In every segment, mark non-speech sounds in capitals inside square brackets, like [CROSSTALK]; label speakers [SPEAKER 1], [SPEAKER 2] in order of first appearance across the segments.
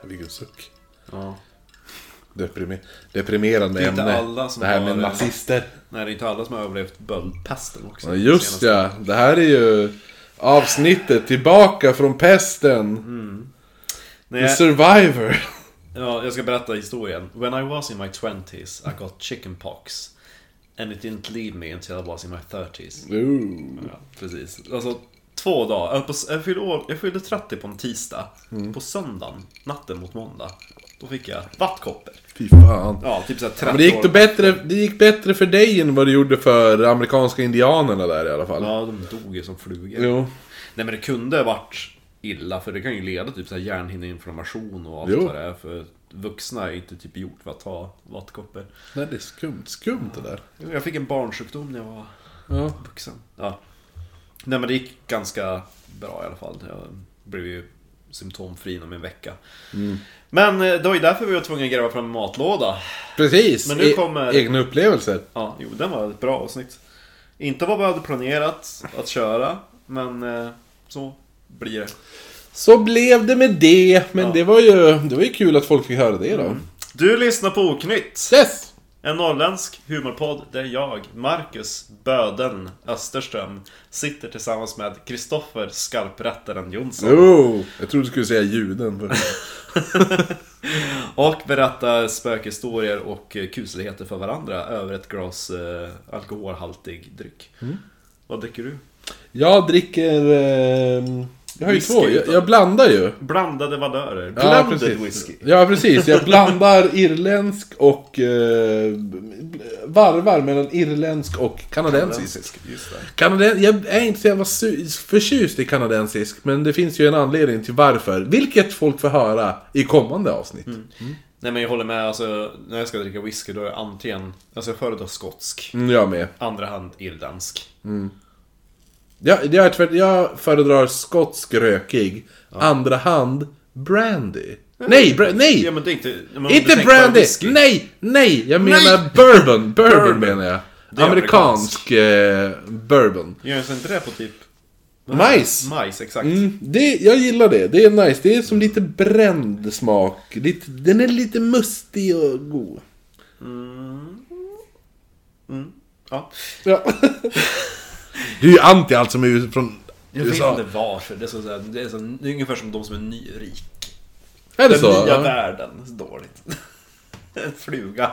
[SPEAKER 1] vilken suck.
[SPEAKER 2] Ja.
[SPEAKER 1] Deprimi- deprimerande
[SPEAKER 2] Det är
[SPEAKER 1] ämne.
[SPEAKER 2] inte alla som
[SPEAKER 1] det här med
[SPEAKER 2] har-
[SPEAKER 1] nazister.
[SPEAKER 2] Nej, det är inte alla som har överlevt böldpesten också.
[SPEAKER 1] Ja, just
[SPEAKER 2] Senaste-
[SPEAKER 1] ja, det här är ju avsnittet Tillbaka från pesten.
[SPEAKER 2] Mm.
[SPEAKER 1] The
[SPEAKER 2] Nej,
[SPEAKER 1] survivor. [LAUGHS]
[SPEAKER 2] ja, jag ska berätta historien. When I was in my 20s I got chicken pox. And it didn't leave me until I was in my 30s.
[SPEAKER 1] Ooh.
[SPEAKER 2] Ja, precis. Alltså, två dagar. Jag, på, jag, fyllde, år- jag fyllde 30 på en tisdag.
[SPEAKER 1] Mm.
[SPEAKER 2] På söndagen, natten mot måndag, då fick jag vattkoppor.
[SPEAKER 1] Fy fan.
[SPEAKER 2] Ja, typ såhär 30
[SPEAKER 1] Men det gick, då
[SPEAKER 2] år.
[SPEAKER 1] bättre, det gick bättre för dig än vad det gjorde för amerikanska indianerna där i alla fall.
[SPEAKER 2] Ja, de dog ju som flugor.
[SPEAKER 1] Jo.
[SPEAKER 2] Nej men det kunde ha varit illa för det kan ju leda typ så här hjärnhinneinflammation och allt
[SPEAKER 1] Jo.
[SPEAKER 2] vad det är för vuxna är inte typ gjort för att ta vattkoppor.
[SPEAKER 1] Nej, det är skumt. Skumt det där.
[SPEAKER 2] Jag fick en barnsjukdom när jag var
[SPEAKER 1] Ja.
[SPEAKER 2] vuxen. Ja. Nej men det gick ganska bra i alla fall. Jag blev ju symptomfri inom en vecka. Men eh, det var ju därför vi var tvungna att gräva fram en matlåda.
[SPEAKER 1] Precis.
[SPEAKER 2] Men nu
[SPEAKER 1] E-
[SPEAKER 2] kommer-
[SPEAKER 1] Egna upplevelser.
[SPEAKER 2] Ja, jo den var ett bra avsnitt. Inte vad vi hade planerat att köra, men eh, så blir det.
[SPEAKER 1] Så blev det med det. Men
[SPEAKER 2] Ja. Mm.
[SPEAKER 1] det, var ju, det var ju kul att folk fick höra det då.
[SPEAKER 2] Du lyssnar på Oknytt!
[SPEAKER 1] Yes!
[SPEAKER 2] En norrländsk humorpodd där jag, Marcus Böden Österström, sitter tillsammans med Kristoffer Skarprättaren Jonsson
[SPEAKER 1] Oh, jag trodde du skulle säga ljuden. för-
[SPEAKER 2] och berättar spökhistorier och eh, kusligheter för varandra över ett glas eh, alkoholhaltig dryck.
[SPEAKER 1] Mm.
[SPEAKER 2] Vad dricker du?
[SPEAKER 1] [LAUGHS] Jag dricker... ehm, jag har ju
[SPEAKER 2] Whisky
[SPEAKER 1] två. Jag,
[SPEAKER 2] utan-
[SPEAKER 1] jag blandar ju.
[SPEAKER 2] Blandade valörer.
[SPEAKER 1] Ja,
[SPEAKER 2] Blended
[SPEAKER 1] precis.
[SPEAKER 2] whisky.
[SPEAKER 1] Ja, precis. Jag blandar irländsk och... Eh, varvar mellan irländsk och kanadensisk.
[SPEAKER 2] Just det.
[SPEAKER 1] Kanaden, jag är inte så jävla su- förtjust i kanadensisk, men det finns ju en anledning till varför. Vilket folk får höra i kommande avsnitt. Mm.
[SPEAKER 2] Nej men jag håller med, alltså, när jag ska dricka whisky då är jag antingen, alltså jag föredrar skotsk,
[SPEAKER 1] Mm, Jag med.
[SPEAKER 2] andra hand irländsk.
[SPEAKER 1] Jag, jag, är tvärt, jag föredrar skotsk rökig, andra hand brandy. Nej, bra, nej!
[SPEAKER 2] Ja men det är inte... men om du
[SPEAKER 1] Inte
[SPEAKER 2] tänker på en
[SPEAKER 1] brandy!
[SPEAKER 2] whisky.
[SPEAKER 1] Nej, nej! Jag menar
[SPEAKER 2] [LAUGHS]
[SPEAKER 1] bourbon. Bourbon,
[SPEAKER 2] Bourbon.
[SPEAKER 1] menar jag.
[SPEAKER 2] Det är
[SPEAKER 1] Amerikansk eh, bourbon.
[SPEAKER 2] Görs inte det på typ...
[SPEAKER 1] Majs.
[SPEAKER 2] Majs, exakt.
[SPEAKER 1] Mm, det, jag gillar det. Det är nice. Det är som lite bränd smak. Lite, den är lite mustig och god.
[SPEAKER 2] Ja.
[SPEAKER 1] Ja.
[SPEAKER 2] [LAUGHS]
[SPEAKER 1] du är ju anti allt som är från
[SPEAKER 2] Jag vet inte
[SPEAKER 1] USA.
[SPEAKER 2] varför. Det är, så, så här- det, är så, det är ungefär som de som är nyrik.
[SPEAKER 1] Är det
[SPEAKER 2] Den
[SPEAKER 1] så?
[SPEAKER 2] nya
[SPEAKER 1] Ja.
[SPEAKER 2] världen. Så dåligt. [LAUGHS] en
[SPEAKER 1] [LAUGHS]
[SPEAKER 2] fluga.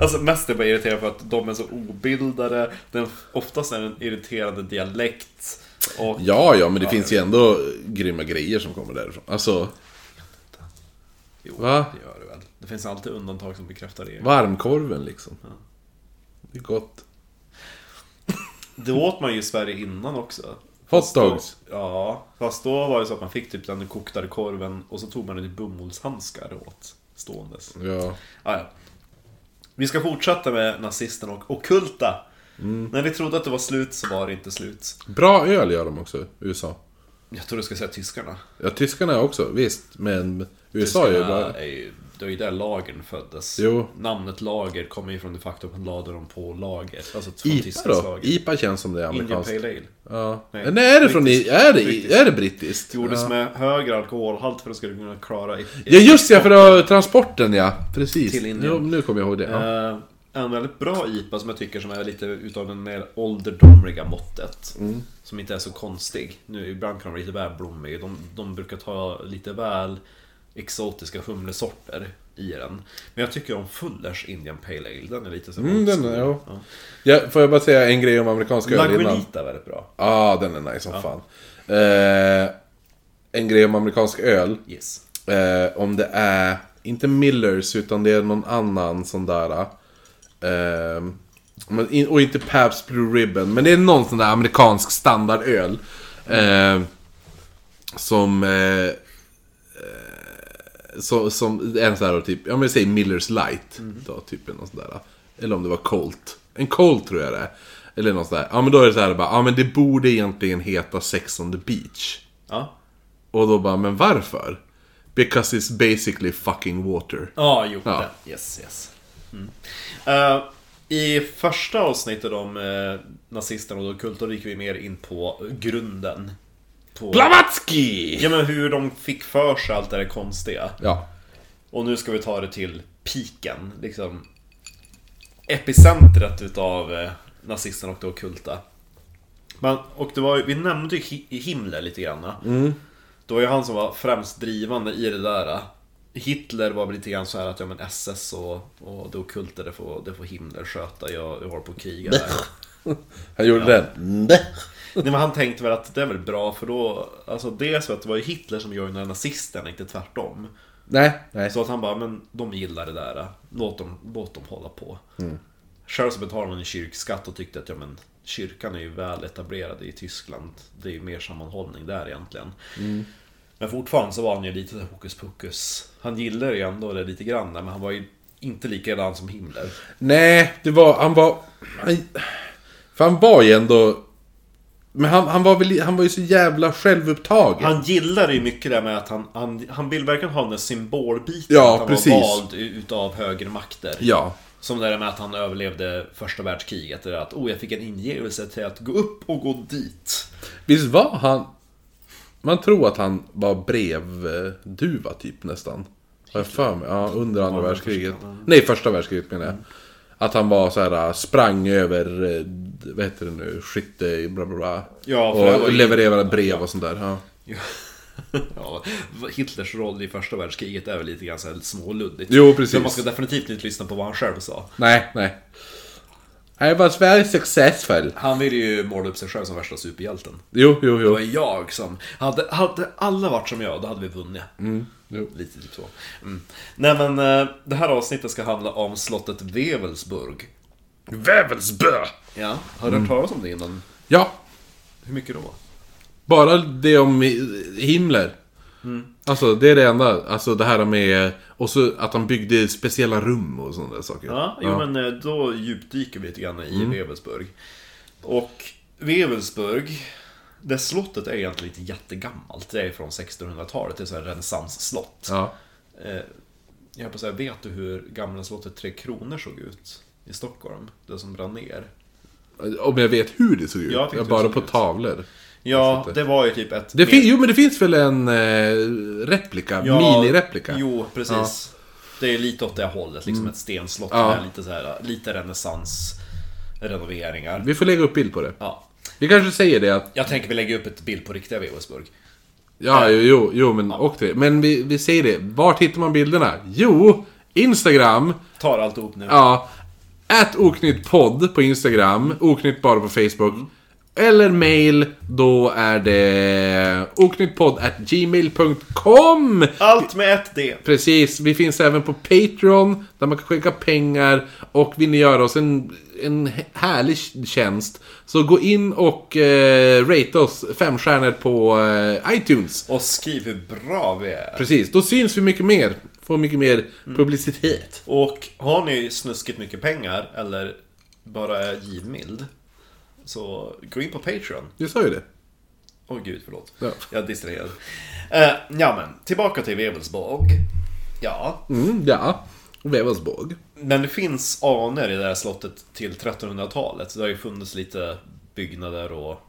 [SPEAKER 2] alltså mest är jag bara irriterad för att de är så obildade. Den, oftast är det en irriterande dialekt. Och
[SPEAKER 1] Ja, ja, men det finns ju ändå grymma grejer som kommer därifrån. Alltså,
[SPEAKER 2] Jo,
[SPEAKER 1] Va?
[SPEAKER 2] det gör det väl. Det finns alltid undantag som bekräftar det.
[SPEAKER 1] varmkorven liksom. Det är gott.
[SPEAKER 2] Det åt man ju i Sverige innan också.
[SPEAKER 1] Hot dogs.
[SPEAKER 2] Då, ja, fast då var det så att man fick typ den koktade korven och så tog man den i bomullshandskar och åt ståendes.
[SPEAKER 1] Ja.
[SPEAKER 2] Ah, ja. Vi ska fortsätta med nazisterna och ockulta.
[SPEAKER 1] Mm.
[SPEAKER 2] När ni trodde att det var slut så var det inte slut.
[SPEAKER 1] Bra öl gör de också, USA.
[SPEAKER 2] Jag tror du ska säga tyskarna.
[SPEAKER 1] Ja, tyskarna också, visst. Men USA är ju
[SPEAKER 2] Tyskarna
[SPEAKER 1] bra.
[SPEAKER 2] är ju, det var ju där lagern föddes.
[SPEAKER 1] Jo.
[SPEAKER 2] Namnet lager kommer ju från det faktum att man lade dem på lager. Alltså från
[SPEAKER 1] IPA
[SPEAKER 2] Tysklands
[SPEAKER 1] då?
[SPEAKER 2] lager.
[SPEAKER 1] IPA känns som det är
[SPEAKER 2] Indian
[SPEAKER 1] amerikanskt.
[SPEAKER 2] Pale Ale.
[SPEAKER 1] Ja.
[SPEAKER 2] Nej,
[SPEAKER 1] Nej, är det från... I-
[SPEAKER 2] brittiskt.
[SPEAKER 1] Är det,
[SPEAKER 2] Brittiskt.
[SPEAKER 1] är det brittiskt?
[SPEAKER 2] Gjordes
[SPEAKER 1] Ja.
[SPEAKER 2] med högre alkoholhalt för att skulle kunna klara i-
[SPEAKER 1] Ja, just ja, för det var transporten ja. Precis.
[SPEAKER 2] Till Indien.
[SPEAKER 1] Jo, nu kommer jag ihåg det. Ja.
[SPEAKER 2] Eh, en väldigt bra IPA som jag tycker som är lite utav den mer ålderdomliga måttet.
[SPEAKER 1] Mm.
[SPEAKER 2] Som inte är så konstig. Nu ibland kan de vara lite väl blommiga. De, de brukar ta lite väl exotiska humlesorter i den. Men jag tycker om Fullers Indian Pale Ale. Den är lite så
[SPEAKER 1] Mm, den är, ja. Ja, får jag bara säga en grej om amerikanska öl innan?
[SPEAKER 2] Lagunita är väldigt bra.
[SPEAKER 1] Ja, ah, den är nice som fan. Eh, en grej om amerikansk öl.
[SPEAKER 2] Yes.
[SPEAKER 1] Eh, om det är, inte Millers, utan det är någon annan sån där. Eh, men in, och inte Pabst Blue Ribbon, men det är någon sån där amerikansk standardöl. Eh, som... Eh, eh, så, som en sån här typ, ja men säg Millers Light. Då, typ eller någon sån där. Eller om det var Colt. En Colt tror jag det är. Eller någon sån där. Ja men då är det så här bara, ja men det borde egentligen heta Sex on the Beach.
[SPEAKER 2] Ja,
[SPEAKER 1] Och då bara, men varför? Because it's basically fucking water.
[SPEAKER 2] ja jo.
[SPEAKER 1] Ja.
[SPEAKER 2] Den. Yes, yes. Mm. Eh, I första avsnittet om eh, nazisterna och kultur gick vi mer in på grunden på...
[SPEAKER 1] Blavatski!
[SPEAKER 2] Ja men hur de fick för sig allt det där konstiga.
[SPEAKER 1] Ja.
[SPEAKER 2] Och nu ska vi ta det till piken, liksom epicentret utav eh, nazisterna och det ockulta. Men, och det var ju, vi nämnde ju Hi- Himmler lite grann. Det var ju han som var främst drivande i det där. Hitler var väl lite grann så här att ja men SS och, och det ockulta det får, det får Himmler sköta, jag, jag har på att kriga där.
[SPEAKER 1] Han gjorde den.
[SPEAKER 2] Nej men han tänkte väl att det är väl bra för då, alltså dels för att det var ju Hitler som joinade nazisterna, inte tvärtom.
[SPEAKER 1] Nej, nej.
[SPEAKER 2] Så att han bara, men de gillar det där. Låt dem, låt dem hålla på.
[SPEAKER 1] Mm.
[SPEAKER 2] Själv så betalade man en kyrkskatt och tyckte att ja, men, kyrkan är ju väl etablerad i Tyskland. Det är ju mer sammanhållning där egentligen.
[SPEAKER 1] Mm.
[SPEAKER 2] Men fortfarande så var han ju lite där hokus pokus. Han gillar ju ändå det lite grann där, men han var ju inte likadan som Himmler.
[SPEAKER 1] Nej, det var... Han var... Han, för han var ju ändå... Men han, han, var väl, han var ju så jävla självupptagen.
[SPEAKER 2] Han gillar ju mycket det här med att han, han, han vill verkligen ha den där symbolbiten.
[SPEAKER 1] Ja,
[SPEAKER 2] att han
[SPEAKER 1] precis.
[SPEAKER 2] var vald u- utav högre makter.
[SPEAKER 1] Ja.
[SPEAKER 2] Som det där med att han överlevde första världskriget. Det där att oh, jag fick en ingivelse till att gå upp och gå dit.
[SPEAKER 1] Visst var han... Man tror att han var brevduva typ nästan. Har jag för mig? Ja, under andra
[SPEAKER 2] Ja,
[SPEAKER 1] världskriget.
[SPEAKER 2] första,
[SPEAKER 1] Nej, första världskriget menar jag. Att han var så här, äh, sprang över, eh, vad heter det nu, skytte, bla bla bla.
[SPEAKER 2] Ja, för det här var
[SPEAKER 1] och
[SPEAKER 2] ju-
[SPEAKER 1] levererade brev och sånt där. Ja.
[SPEAKER 2] Ja. [LAUGHS] ja, Hitlers roll i första världskriget är väl lite grann så här småluddigt.
[SPEAKER 1] Jo, precis.
[SPEAKER 2] Men man ska definitivt inte lyssna på vad han själv sa.
[SPEAKER 1] Nej, nej. I was very successful.
[SPEAKER 2] Han ville ju måla upp sig själv som värsta superhjälten.
[SPEAKER 1] Jo, jo,
[SPEAKER 2] Det
[SPEAKER 1] jo.
[SPEAKER 2] var jag som... Hade, hade alla varit som jag, då hade vi vunnit.
[SPEAKER 1] jo.
[SPEAKER 2] Lite typ så. Mm. Nej men, eh, det här avsnittet ska handla om slottet Wevelsburg.
[SPEAKER 1] Vävelsbö!
[SPEAKER 2] Ja, har
[SPEAKER 1] Mm.
[SPEAKER 2] du hört talas om det innan?
[SPEAKER 1] Ja,
[SPEAKER 2] Hur mycket då?
[SPEAKER 1] bara det om i- Himmler.
[SPEAKER 2] Mm.
[SPEAKER 1] Alltså det är det enda. Alltså det här med... Och så att han byggde speciella rum och sådana där saker.
[SPEAKER 2] Ja, jo, men eh, då djupdyker vi lite grann i
[SPEAKER 1] Mm.
[SPEAKER 2] Wevelsburg. Och Wevelsburg, det slottet är egentligen inte jättegammalt. Det är från 1600-talet, det är så här renässansslott.
[SPEAKER 1] Ja.
[SPEAKER 2] Eh, Jag höll på att säga, vet du hur gamla slottet Tre Kronor såg ut i Stockholm? Det som brann ner.
[SPEAKER 1] Om jag vet hur det såg ut.
[SPEAKER 2] Ja, jag tänkte
[SPEAKER 1] Jag bara
[SPEAKER 2] hur det
[SPEAKER 1] på
[SPEAKER 2] såg ut.
[SPEAKER 1] tavlor.
[SPEAKER 2] Ja, det var ju typ ett...
[SPEAKER 1] Det fin- jo men det finns väl en eh, replika? minireplika? Mm.
[SPEAKER 2] Jo, precis. Det är lite åt det hållet, liksom ett stenslott
[SPEAKER 1] Ja.
[SPEAKER 2] med lite, så här, lite renässans renoveringar.
[SPEAKER 1] Vi får lägga upp bild på det.
[SPEAKER 2] Ja.
[SPEAKER 1] Vi kanske säger det att...
[SPEAKER 2] Jag tänker vi lägger upp ett bild på riktiga Wevelsburg.
[SPEAKER 1] Ja, jo, jo, jo men och det. Men vi, vi säger det. Vart hittar man bilderna? Jo, Instagram.
[SPEAKER 2] Tar alltihop nu.
[SPEAKER 1] Ja. Ät oknytt podd på Instagram, oknytt bara på Facebook. Eller mail, då är det oknyttpodd at gmail.com.
[SPEAKER 2] Allt med ett D.
[SPEAKER 1] Precis, vi finns även på Patreon där man kan skicka pengar och vill ni göra oss en, en härlig tjänst så gå in och eh, rate oss fem stjärnor på eh, iTunes.
[SPEAKER 2] Och skriv hur bra vi är.
[SPEAKER 1] Precis, då syns vi mycket mer. Får mycket mer publicitet.
[SPEAKER 2] Och har ni snuskigt mycket pengar eller bara är givmild. Så gå in på Patreon.
[SPEAKER 1] Du sa ju det.
[SPEAKER 2] Åh gud, förlåt.
[SPEAKER 1] Ja.
[SPEAKER 2] Jag är distraherad. Eh, ja men, tillbaka till Wevelsborg. Ja,
[SPEAKER 1] Mm, ja. Vävelsborg.
[SPEAKER 2] men det finns anor i det här slottet till 1300-talet. Det har ju funnits lite byggnader och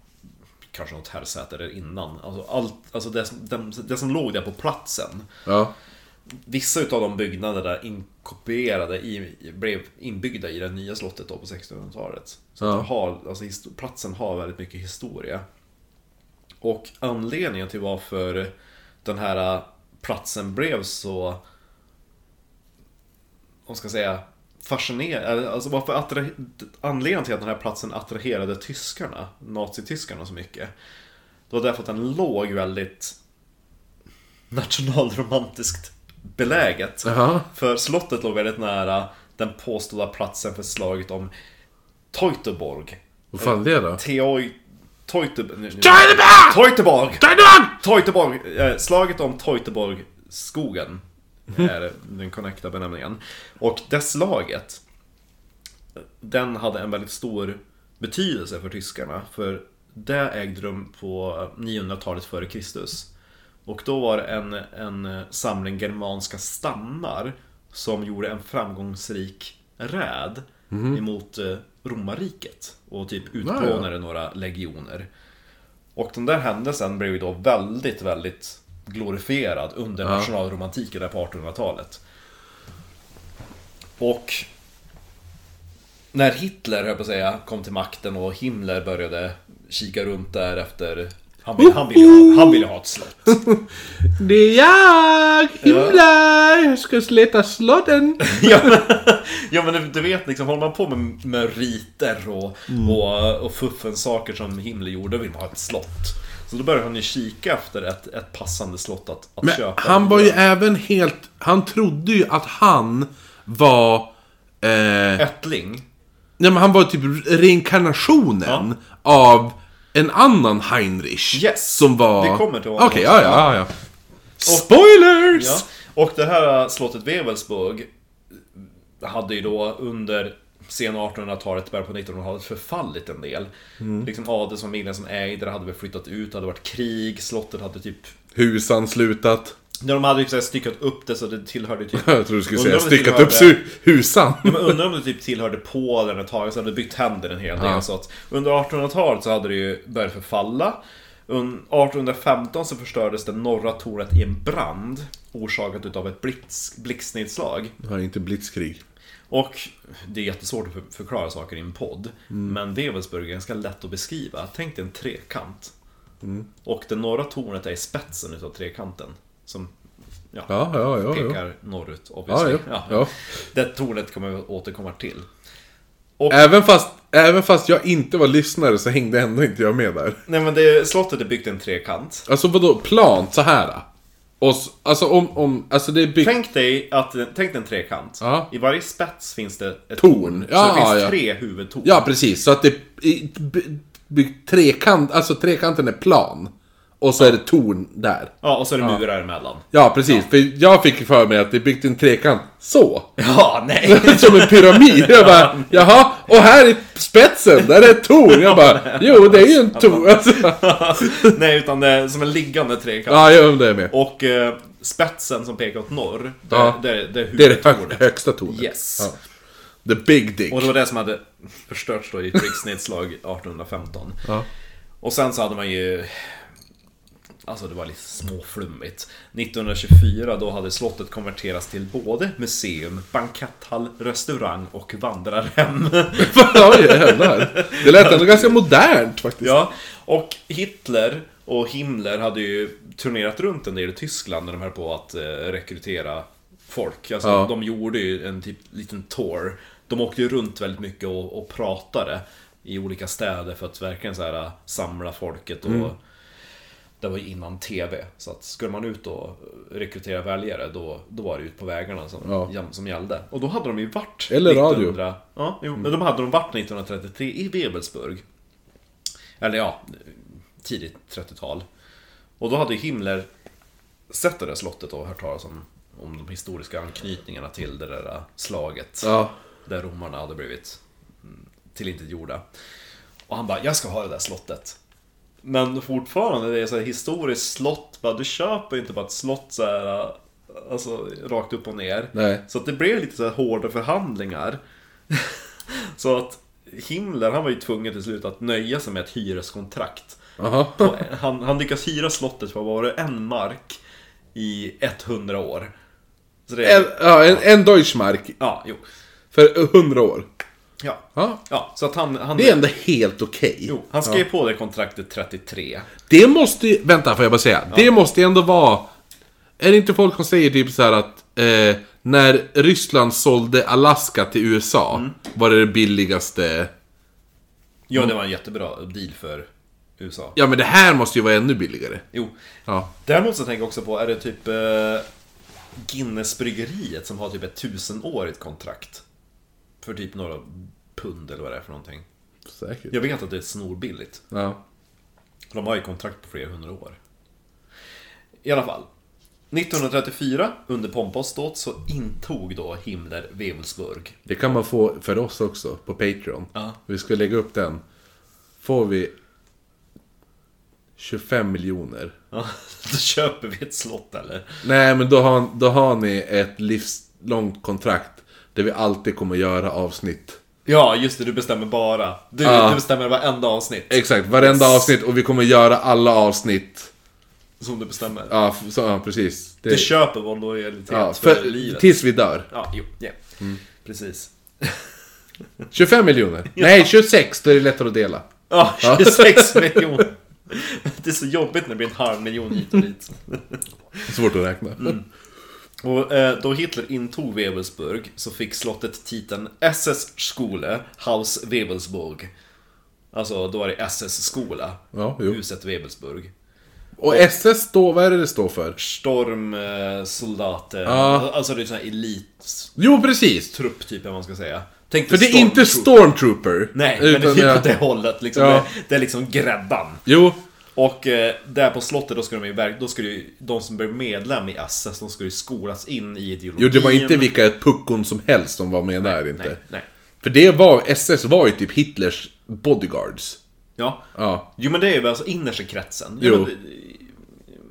[SPEAKER 2] kanske något herrsäte där innan. Alltså, allt, alltså det, som- dem- det som låg där på platsen.
[SPEAKER 1] Ja.
[SPEAKER 2] Vissa utav de byggnaderna inkopierade i, blev inbyggda i det nya slottet då på 1600-talet. Så
[SPEAKER 1] Ja.
[SPEAKER 2] att det har, alltså, histo- platsen har väldigt mycket historia. Och anledningen till varför den här platsen blev så... Om man ska säga fascinerande, alltså varför attra- anledningen till att den här platsen attraherade tyskarna, nazityskarna så mycket. Det var därför att den låg väldigt nationalromantiskt beläget.
[SPEAKER 1] Jaha.
[SPEAKER 2] För slottet låg väldigt nära den påstådda platsen för slaget om Teutoburg.
[SPEAKER 1] Vad fan är det då?
[SPEAKER 2] Teoj... Teutob- nu- nu-
[SPEAKER 1] Teutoburg!
[SPEAKER 2] Teutoburg!
[SPEAKER 1] Tainan!
[SPEAKER 2] Teutoburg! Eh, Slaget om Teutoburg-skogen är den korrekta benämningen. Och det slaget, den hade en väldigt stor betydelse för tyskarna. För det ägde rum på 900-talet före Kristus. Och då var det en, en samling germanska stammar som gjorde en framgångsrik räd emot eh, romarriket. Och typ utplånade några legioner. Och den där händelsen blev ju då väldigt, väldigt glorifierad under nationalromantiken där på 1800-talet. Och när Hitler, höll jag på att säga, kom till makten och Himmler började kika runt där efter... Han ville, han ville, ha, han ville ha
[SPEAKER 1] [LAUGHS]
[SPEAKER 2] ett slott.
[SPEAKER 1] Det är jag, Himmler! Jag ska sleta slåtten.
[SPEAKER 2] ja, men, ja men du- du vet liksom, håller man på med, med riter och,
[SPEAKER 1] Mm.
[SPEAKER 2] och, och fuffens saker som Himmler gjorde, då vill man ha ett slott. Så då började han ju kika efter ett, ett passande slott att, att
[SPEAKER 1] Men
[SPEAKER 2] köpa.
[SPEAKER 1] han var ju även helt... Han trodde ju att han var... Eh,
[SPEAKER 2] Ättling.
[SPEAKER 1] nej, men han var typ reinkarnationen av en annan Heinrich.
[SPEAKER 2] Yes.
[SPEAKER 1] Som var...
[SPEAKER 2] Vi kommer till honom
[SPEAKER 1] Okej, ja,
[SPEAKER 2] också.
[SPEAKER 1] ja, ja, ja. Spoilers!
[SPEAKER 2] Ja. Och det här slottet Wewelsburg hade ju då under sena 1800-talet, början på 1900-talet förfallit en del.
[SPEAKER 1] Mm.
[SPEAKER 2] Liksom adelsfamiljen som ägde det hade väl flyttat ut, det hade varit krig, slottet hade typ
[SPEAKER 1] Husanslutat.
[SPEAKER 2] När de hade liksom styckat upp det så det tillhörde typ
[SPEAKER 1] [LAUGHS] Jag tror du skulle
[SPEAKER 2] Undrar
[SPEAKER 1] säga
[SPEAKER 2] om det
[SPEAKER 1] styckat
[SPEAKER 2] tillhör
[SPEAKER 1] upp
[SPEAKER 2] det.
[SPEAKER 1] su- husan.
[SPEAKER 2] Men undrar om det typ tillhörde Polen ett tag, så hade det bytt händer en hel del. Så att under 1800-talet så hade det ju börjat förfalla. Un- 1815 så förstördes det norra tornet i en brand orsakat utav ett blitz- blixtnedslag.
[SPEAKER 1] Ja, inte blitzkrig.
[SPEAKER 2] Och det är jättesvårt att för- förklara saker i en podd.
[SPEAKER 1] Mm.
[SPEAKER 2] Men Wewelsburg är ganska lätt att beskriva. Tänk dig en trekant.
[SPEAKER 1] Mm.
[SPEAKER 2] Och det norra tornet är i spetsen utav trekanten. Som ja,
[SPEAKER 1] Ja, ja, ja. ja.
[SPEAKER 2] pekar norrut
[SPEAKER 1] Ja,
[SPEAKER 2] obviously.
[SPEAKER 1] ja,
[SPEAKER 2] [LAUGHS]
[SPEAKER 1] ja.
[SPEAKER 2] Det tornet kommer vi återkomma till.
[SPEAKER 1] Även, fast, även fast jag inte var lyssnare så hängde ändå inte jag med där.
[SPEAKER 2] Nej men det, slottet är byggt i en trekant.
[SPEAKER 1] Alltså vadå, plant så här? Och, s- alltså om, om, alltså det är byggt...
[SPEAKER 2] Tänk dig, att, tänk dig en trekant.
[SPEAKER 1] Ja.
[SPEAKER 2] I varje spets finns det ett
[SPEAKER 1] Torn.
[SPEAKER 2] så
[SPEAKER 1] Ja,
[SPEAKER 2] det finns
[SPEAKER 1] ja.
[SPEAKER 2] tre huvudtorn.
[SPEAKER 1] Ja, precis. Så att det i- by- byggt trekant, alltså trekanten är plan. Och så är det torn där.
[SPEAKER 2] Ja, och så är det murar emellan.
[SPEAKER 1] Ja, precis. För jag fick för mig att det är byggt en trekant så. [LAUGHS]
[SPEAKER 2] [LAUGHS] Ja, nej!
[SPEAKER 1] Som en pyramid. Jag bara, jaha, och här i spetsen, där är ett torn. Jag bara, jo det är ju en torn. Alltså,
[SPEAKER 2] nej, utan det är som en liggande
[SPEAKER 1] [LAUGHS]
[SPEAKER 2] trekant.
[SPEAKER 1] ja, jag undrar med.
[SPEAKER 2] Och eh, spetsen som pekar åt norr, det,
[SPEAKER 1] Ja.
[SPEAKER 2] det, det, är
[SPEAKER 1] Det är det
[SPEAKER 2] huvudtornet.
[SPEAKER 1] hö- högsta tornet.
[SPEAKER 2] Yes.
[SPEAKER 1] Ja. The big dick.
[SPEAKER 2] Och det var det som hade förstörts då i ett blixtnedslag 1815.
[SPEAKER 1] Ja.
[SPEAKER 2] Och sen så hade man ju... Alltså det var lite småflummigt. 1924 då hade slottet konverterats till både museum, banketthall, restaurang och vandrarhem.
[SPEAKER 1] ja, jävlar. Det lät ändå ganska modernt faktiskt.
[SPEAKER 2] ja, och Hitler och Himmler hade ju turnerat runt en del i Tyskland när de höll på att eh, rekrytera folk. Alltså
[SPEAKER 1] Ja.
[SPEAKER 2] de gjorde ju en typ, liten tour. De åkte ju runt väldigt mycket och, och pratade i olika städer för att verkligen så här, eh, samla folket och
[SPEAKER 1] Mm.
[SPEAKER 2] Det var ju innan TV, så att skulle man ut och rekrytera väljare då, då var det ut på vägarna som,
[SPEAKER 1] Ja.
[SPEAKER 2] jam- som gällde. Och då hade de ju varit
[SPEAKER 1] Eller radio. Mm.
[SPEAKER 2] 1900, Ja, jo, men de hade de varit 1933 i Webelsburg. Eller ja, tidigt 30-tal. Och då hade ju Himmler sett det där slottet och hört talas om, om de historiska anknytningarna till det där slaget.
[SPEAKER 1] Ja.
[SPEAKER 2] Där romarna hade blivit mm, tillintetgjorda. Och han bara, jag ska ha det där slottet. Men fortfarande, det är så här historiskt slott. Bara, du köper inte bara ett slott så här, äh, alltså rakt upp och ner.
[SPEAKER 1] Nej.
[SPEAKER 2] Så att det blev lite så här hårda förhandlingar. [LAUGHS] så att Himmler, han var ju tvungen till slut att nöja sig med ett hyreskontrakt.
[SPEAKER 1] Aha.
[SPEAKER 2] På- Han, han lyckas hyra slottet på bara en mark i 100 år. Så det är,
[SPEAKER 1] En, ja, en, en Deutschmark
[SPEAKER 2] ja, jo.
[SPEAKER 1] för hundra år.
[SPEAKER 2] Ja.
[SPEAKER 1] Ja.
[SPEAKER 2] ja, så att han... han
[SPEAKER 1] Det är ändå helt okej.
[SPEAKER 2] Jo, han skrev på det kontraktet 33.
[SPEAKER 1] Det måste ju, vänta får jag bara säga. Det måste ju ändå vara... Är det inte folk som säger typ så här att eh, när Ryssland sålde Alaska till USA var det det billigaste...
[SPEAKER 2] Ja, det var en jättebra deal för USA.
[SPEAKER 1] Ja men det här måste ju vara ännu billigare.
[SPEAKER 2] Jo.
[SPEAKER 1] Ja.
[SPEAKER 2] Däremot så tänker jag också på, är det typ eh, Guinness-bryggeriet som har typ ett tusenårigt kontrakt? För typ några pund eller vad det är för någonting.
[SPEAKER 1] Säkert.
[SPEAKER 2] Jag vet att det är snorbilligt.
[SPEAKER 1] Ja.
[SPEAKER 2] De har ju kontrakt på flera hundra år. I alla fall. 1934, under Pompas dåd, så intog då Himmler Wewelsburg.
[SPEAKER 1] Det kan man få för oss också på Patreon.
[SPEAKER 2] Ja.
[SPEAKER 1] Vi ska lägga upp den. Får vi 25 miljoner.
[SPEAKER 2] Ja, [LAUGHS] då köper vi ett slott eller?
[SPEAKER 1] Nej, men då har, då har ni ett livslångt kontrakt där vi alltid kommer göra avsnitt
[SPEAKER 2] Ja, just det. Du bestämmer bara. Du,
[SPEAKER 1] Ja.
[SPEAKER 2] du bestämmer varenda avsnitt
[SPEAKER 1] Exakt, varenda avsnitt och vi kommer göra alla avsnitt.
[SPEAKER 2] som du bestämmer.
[SPEAKER 1] Ja, f- så, ja precis. Det,
[SPEAKER 2] Du köper vår lojalitet
[SPEAKER 1] ja,
[SPEAKER 2] för,
[SPEAKER 1] för, Mm.
[SPEAKER 2] livet.
[SPEAKER 1] tills vi dör.
[SPEAKER 2] Ja, jo. ja. Precis.
[SPEAKER 1] 25 [LAUGHS] miljoner. Nej, 26, då är det lättare att dela.
[SPEAKER 2] Ja, [LAUGHS] 26 miljoner. Det är så jobbigt när det blir en halv miljon hit och dit.
[SPEAKER 1] Svårt att räkna.
[SPEAKER 2] Och eh, då Hitler intog Webelsburg så fick slottet titeln SS-Skole, Haus Webelsburg. Alltså, då var det SS-skola.
[SPEAKER 1] Ja, jo.
[SPEAKER 2] huset Webelsburg.
[SPEAKER 1] Och SS står, vad är det det står för?
[SPEAKER 2] Stormsoldater.
[SPEAKER 1] Ja.
[SPEAKER 2] Alltså, det är sån här elittrupp,
[SPEAKER 1] Jo, precis!
[SPEAKER 2] typ, eller vad man ska säga. Tänk
[SPEAKER 1] För
[SPEAKER 2] dig
[SPEAKER 1] det är inte
[SPEAKER 2] stormtrupp.
[SPEAKER 1] stormtrooper.
[SPEAKER 2] Nej, men det är typ
[SPEAKER 1] ja.
[SPEAKER 2] åt det hållet. Liksom.
[SPEAKER 1] Ja.
[SPEAKER 2] Det, det är liksom gräddan.
[SPEAKER 1] Jo,
[SPEAKER 2] Och eh, där på slottet, då ska de ju verk- då ska ju, de som blir medlem i SS, de ska ju skolas in i ideologin.
[SPEAKER 1] jo, det var inte vilka puckon som helst som var med där inte.
[SPEAKER 2] Nej, nej.
[SPEAKER 1] För det var, SS var ju typ Hitlers bodyguards.
[SPEAKER 2] Ja.
[SPEAKER 1] Ja.
[SPEAKER 2] Jo, men det är ju alltså innersta kretsen.
[SPEAKER 1] Jo.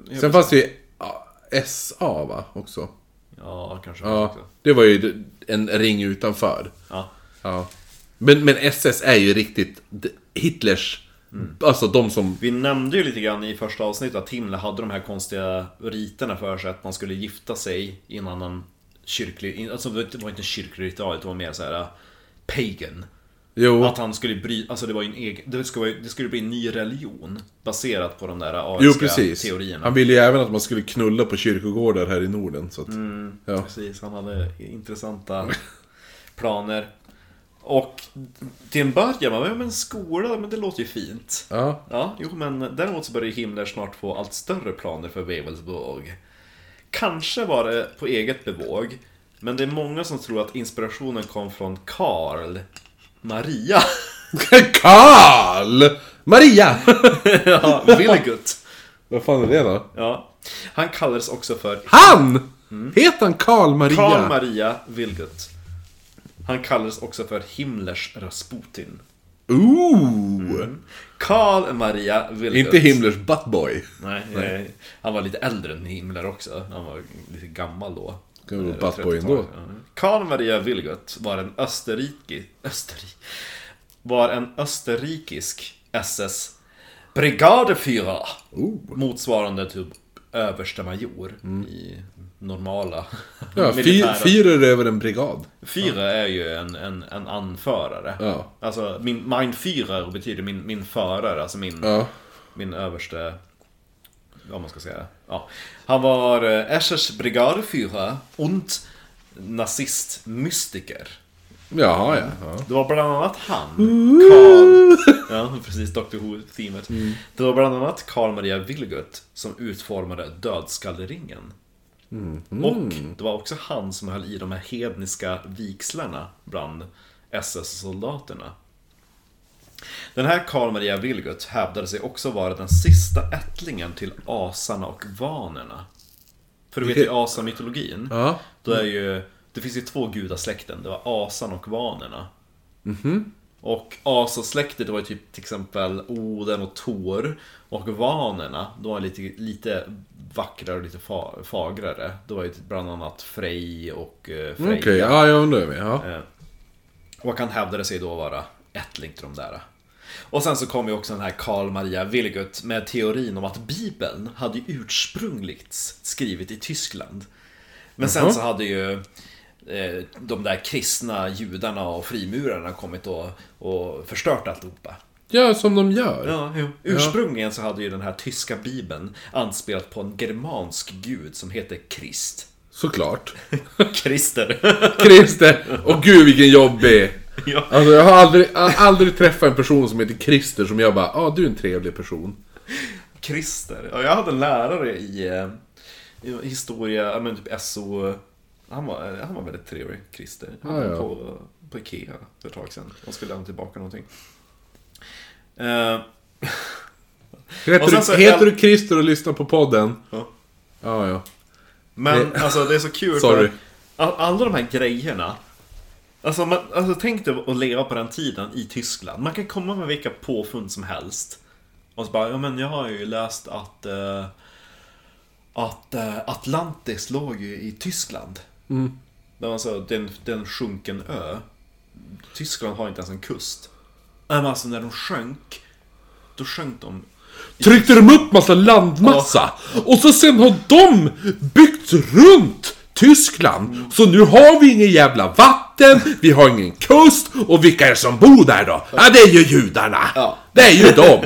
[SPEAKER 2] men-
[SPEAKER 1] Sen fanns det ju ja, SA va, också.
[SPEAKER 2] Ja, kanske.
[SPEAKER 1] Ja,
[SPEAKER 2] också.
[SPEAKER 1] det var ju en ring utanför.
[SPEAKER 2] ja.
[SPEAKER 1] Ja. Men, men SS är ju riktigt d- Hitlers,
[SPEAKER 2] Mm.
[SPEAKER 1] alltså de som...
[SPEAKER 2] Vi nämnde ju lite grann i första avsnittet att Himmler hade de här konstiga riterna för sig att man skulle gifta sig i en annan kyrklig... in- Alltså det var inte en kyrklig ritual, det var mer så här eh, pagan.
[SPEAKER 1] Jo,
[SPEAKER 2] Att han skulle bry... Alltså det var ju en egen... Det skulle, vara- det skulle bli en ny religion baserat på de där ariska
[SPEAKER 1] jo precis.
[SPEAKER 2] teorierna.
[SPEAKER 1] Han ville ju även att man skulle knulla på kyrkogårdar här i Norden. Så att,
[SPEAKER 2] Mm.
[SPEAKER 1] ja.
[SPEAKER 2] Precis, han hade intressanta Mm. planer. Och till en början, man bara, ja men skola, men det låter ju fint.
[SPEAKER 1] Ja. [LAUGHS]
[SPEAKER 2] Ja, jo men däremot så börjar Himmler snart få allt större planer för Wewelsburg. Kanske var det på eget bevåg, men det är många som tror att inspirationen kom från Karl Maria
[SPEAKER 1] Karl! Maria!
[SPEAKER 2] ja, [LAUGHS] Vilgut.
[SPEAKER 1] Vad fan är det då?
[SPEAKER 2] Ja. Han kallades också för
[SPEAKER 1] Han! Heter han Karl Maria?
[SPEAKER 2] Karl Maria Vilgut. Han kallades också för Himmlers Rasputin.
[SPEAKER 1] Ooh!
[SPEAKER 2] Mm. Karl Maria Vilgut.
[SPEAKER 1] Inte Himmlers buttboy.
[SPEAKER 2] Nej, eh, han var lite äldre än Himmler också. Han var lite gammal då.
[SPEAKER 1] Kan vara
[SPEAKER 2] Eh,
[SPEAKER 1] buttboy
[SPEAKER 2] 30-talet.
[SPEAKER 1] ändå.
[SPEAKER 2] Ja. Karl Maria Vilgot var en österriki... Österri... Var en österrikisk SS Brigadefyrer.
[SPEAKER 1] Oh.
[SPEAKER 2] Motsvarande typ överstemajor i normala
[SPEAKER 1] Mm. Ja,
[SPEAKER 2] militära-
[SPEAKER 1] fyr, fyrer över en brigad.
[SPEAKER 2] Führer är ju en, en, en anförare.
[SPEAKER 1] Ja.
[SPEAKER 2] Alltså, min, mein Führer betyder min, min förare, alltså min,
[SPEAKER 1] Ja.
[SPEAKER 2] min överste... Vad man ska säga. Ja. Han var eh, SS Brigadführer und nazistmystiker.
[SPEAKER 1] Jaha, ja. ja. Mm.
[SPEAKER 2] Det var bland annat han,
[SPEAKER 1] [LAUGHS]
[SPEAKER 2] Karl... Ja, precis. Dr Who-teamet. Det var bland annat Karl Maria Vilgut som utformade dödskalleringen.
[SPEAKER 1] Mm.
[SPEAKER 2] Och det var också han som höll i de här hedniska vigslarna bland SS-soldaterna. Den här Karl Maria Vilgut hävdade sig också vara den sista ättlingen till asarna och vanerna. För du vet ju asamytologin.
[SPEAKER 1] Ja.
[SPEAKER 2] Då är ju, det finns ju två gudasläkten, det var asan och vanerna. Och asasläktet var ju typ till exempel Oden och Tor. Och vanerna, de var lite, lite vackrare och lite fa- fagrare. Det var ju typ bland annat Frej och eh, Freja.
[SPEAKER 1] Mm, Okej, ja, jag undrar med. Ja.
[SPEAKER 2] Och han hävdade sig då vara ättling till de där. Och sen så kom ju också den här Karl Maria Vilgut med teorin om att Bibeln hade ju ursprungligt skrivit i Tyskland. Men sen så hade ju eh, de där kristna judarna och frimurarna kommit och, och förstört alltihopa.
[SPEAKER 1] ja, som de gör.
[SPEAKER 2] Ja, jo. Ursprungligen så hade ju den här tyska bibeln anspelat på en germansk gud som heter [LAUGHS] Krist.
[SPEAKER 1] Såklart. [LAUGHS]
[SPEAKER 2] Krister.
[SPEAKER 1] Christer! Och gud vilken jobbig!
[SPEAKER 2] ja.
[SPEAKER 1] Alltså jag har aldrig, jag har aldrig träffat en person som heter Christer som jag bara, ja ah, du är en trevlig person.
[SPEAKER 2] Christer. Ja, jag hade en lärare i, eh, i historia, ja, men typ SO. Han var, eh, han var väldigt trevlig, Christer. Han
[SPEAKER 1] Ja,
[SPEAKER 2] var
[SPEAKER 1] ja.
[SPEAKER 2] På, på Ikea för ett tag sedan. Och skulle lämna tillbaka någonting. Eh,
[SPEAKER 1] Heter,
[SPEAKER 2] Och sen
[SPEAKER 1] du,
[SPEAKER 2] så-
[SPEAKER 1] heter du Christer och lyssnar på podden?
[SPEAKER 2] ja.
[SPEAKER 1] Ja, ja.
[SPEAKER 2] Men alltså det är så kul
[SPEAKER 1] Sorry.
[SPEAKER 2] för all- alla de här grejerna. Alltså, man, alltså tänk dig att leva på den tiden i Tyskland. Man kan komma med vilka påfund som helst. Och så bara, ja men jag har ju läst att eh, att eh, Atlantis låg ju i Tyskland. Mm. Alltså, det är en, det är en sjunken ö. Tyskland har inte ens en kust. Nej, men alltså när de sjönk, då sjönk de.
[SPEAKER 1] Tryckte de upp massa landmassa. Och så sen har de byggt runt Tyskland. Så nu har vi ingen jävla vatten, vi har ingen kust. Och vilka är det som bor där då? Ja, det är ju judarna.
[SPEAKER 2] Ja.
[SPEAKER 1] Det är ju dem.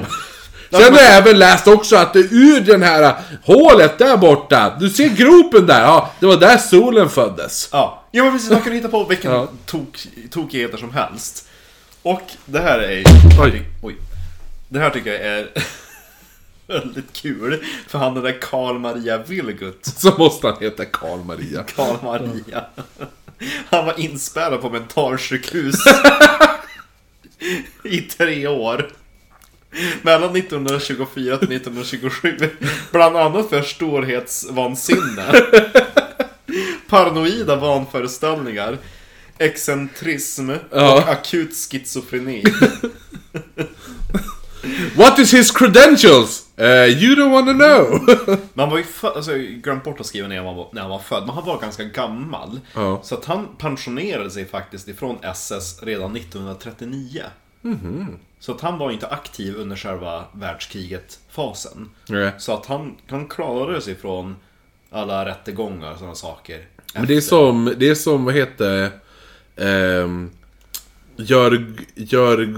[SPEAKER 1] Sen har jag även läst också att det ur den här hålet där borta, du ser gropen där, ja, det var där solen föddes.
[SPEAKER 2] Ja, ja men precis. De kunde hitta på vilken tok, tokigheter som helst. Och det här är...
[SPEAKER 1] Oj.
[SPEAKER 2] Oj. Det här tycker jag är [LAUGHS] väldigt kul. För han den där Karl Maria Vilgut.
[SPEAKER 1] Så måste han heta Karl Maria.
[SPEAKER 2] Karl Maria. Han var inspärrad på mentalsjukhus i tre år. Mellan 1924 till 1927. Bland annat för storhetsvansinne. Paranoida vanföreställningar. Excentrism
[SPEAKER 1] Ja.
[SPEAKER 2] och akut schizofreni.
[SPEAKER 1] What is his credentials? Eh, you don't wanna know. [LAUGHS]
[SPEAKER 2] Man var ju född, alltså jag har ju glömt bort att skriva ner när han var, när han var född, men han var ganska gammal.
[SPEAKER 1] Ja.
[SPEAKER 2] Så att han pensionerade sig faktiskt ifrån SS redan 1939.
[SPEAKER 1] Mhm.
[SPEAKER 2] Så att han var inte aktiv under själva världskriget-fasen.
[SPEAKER 1] Nej.
[SPEAKER 2] Så att han, han klarade sig från alla rättegångar och sådana saker.
[SPEAKER 1] Men det är som, det är som vad heter ehm, Jörg, Jörg,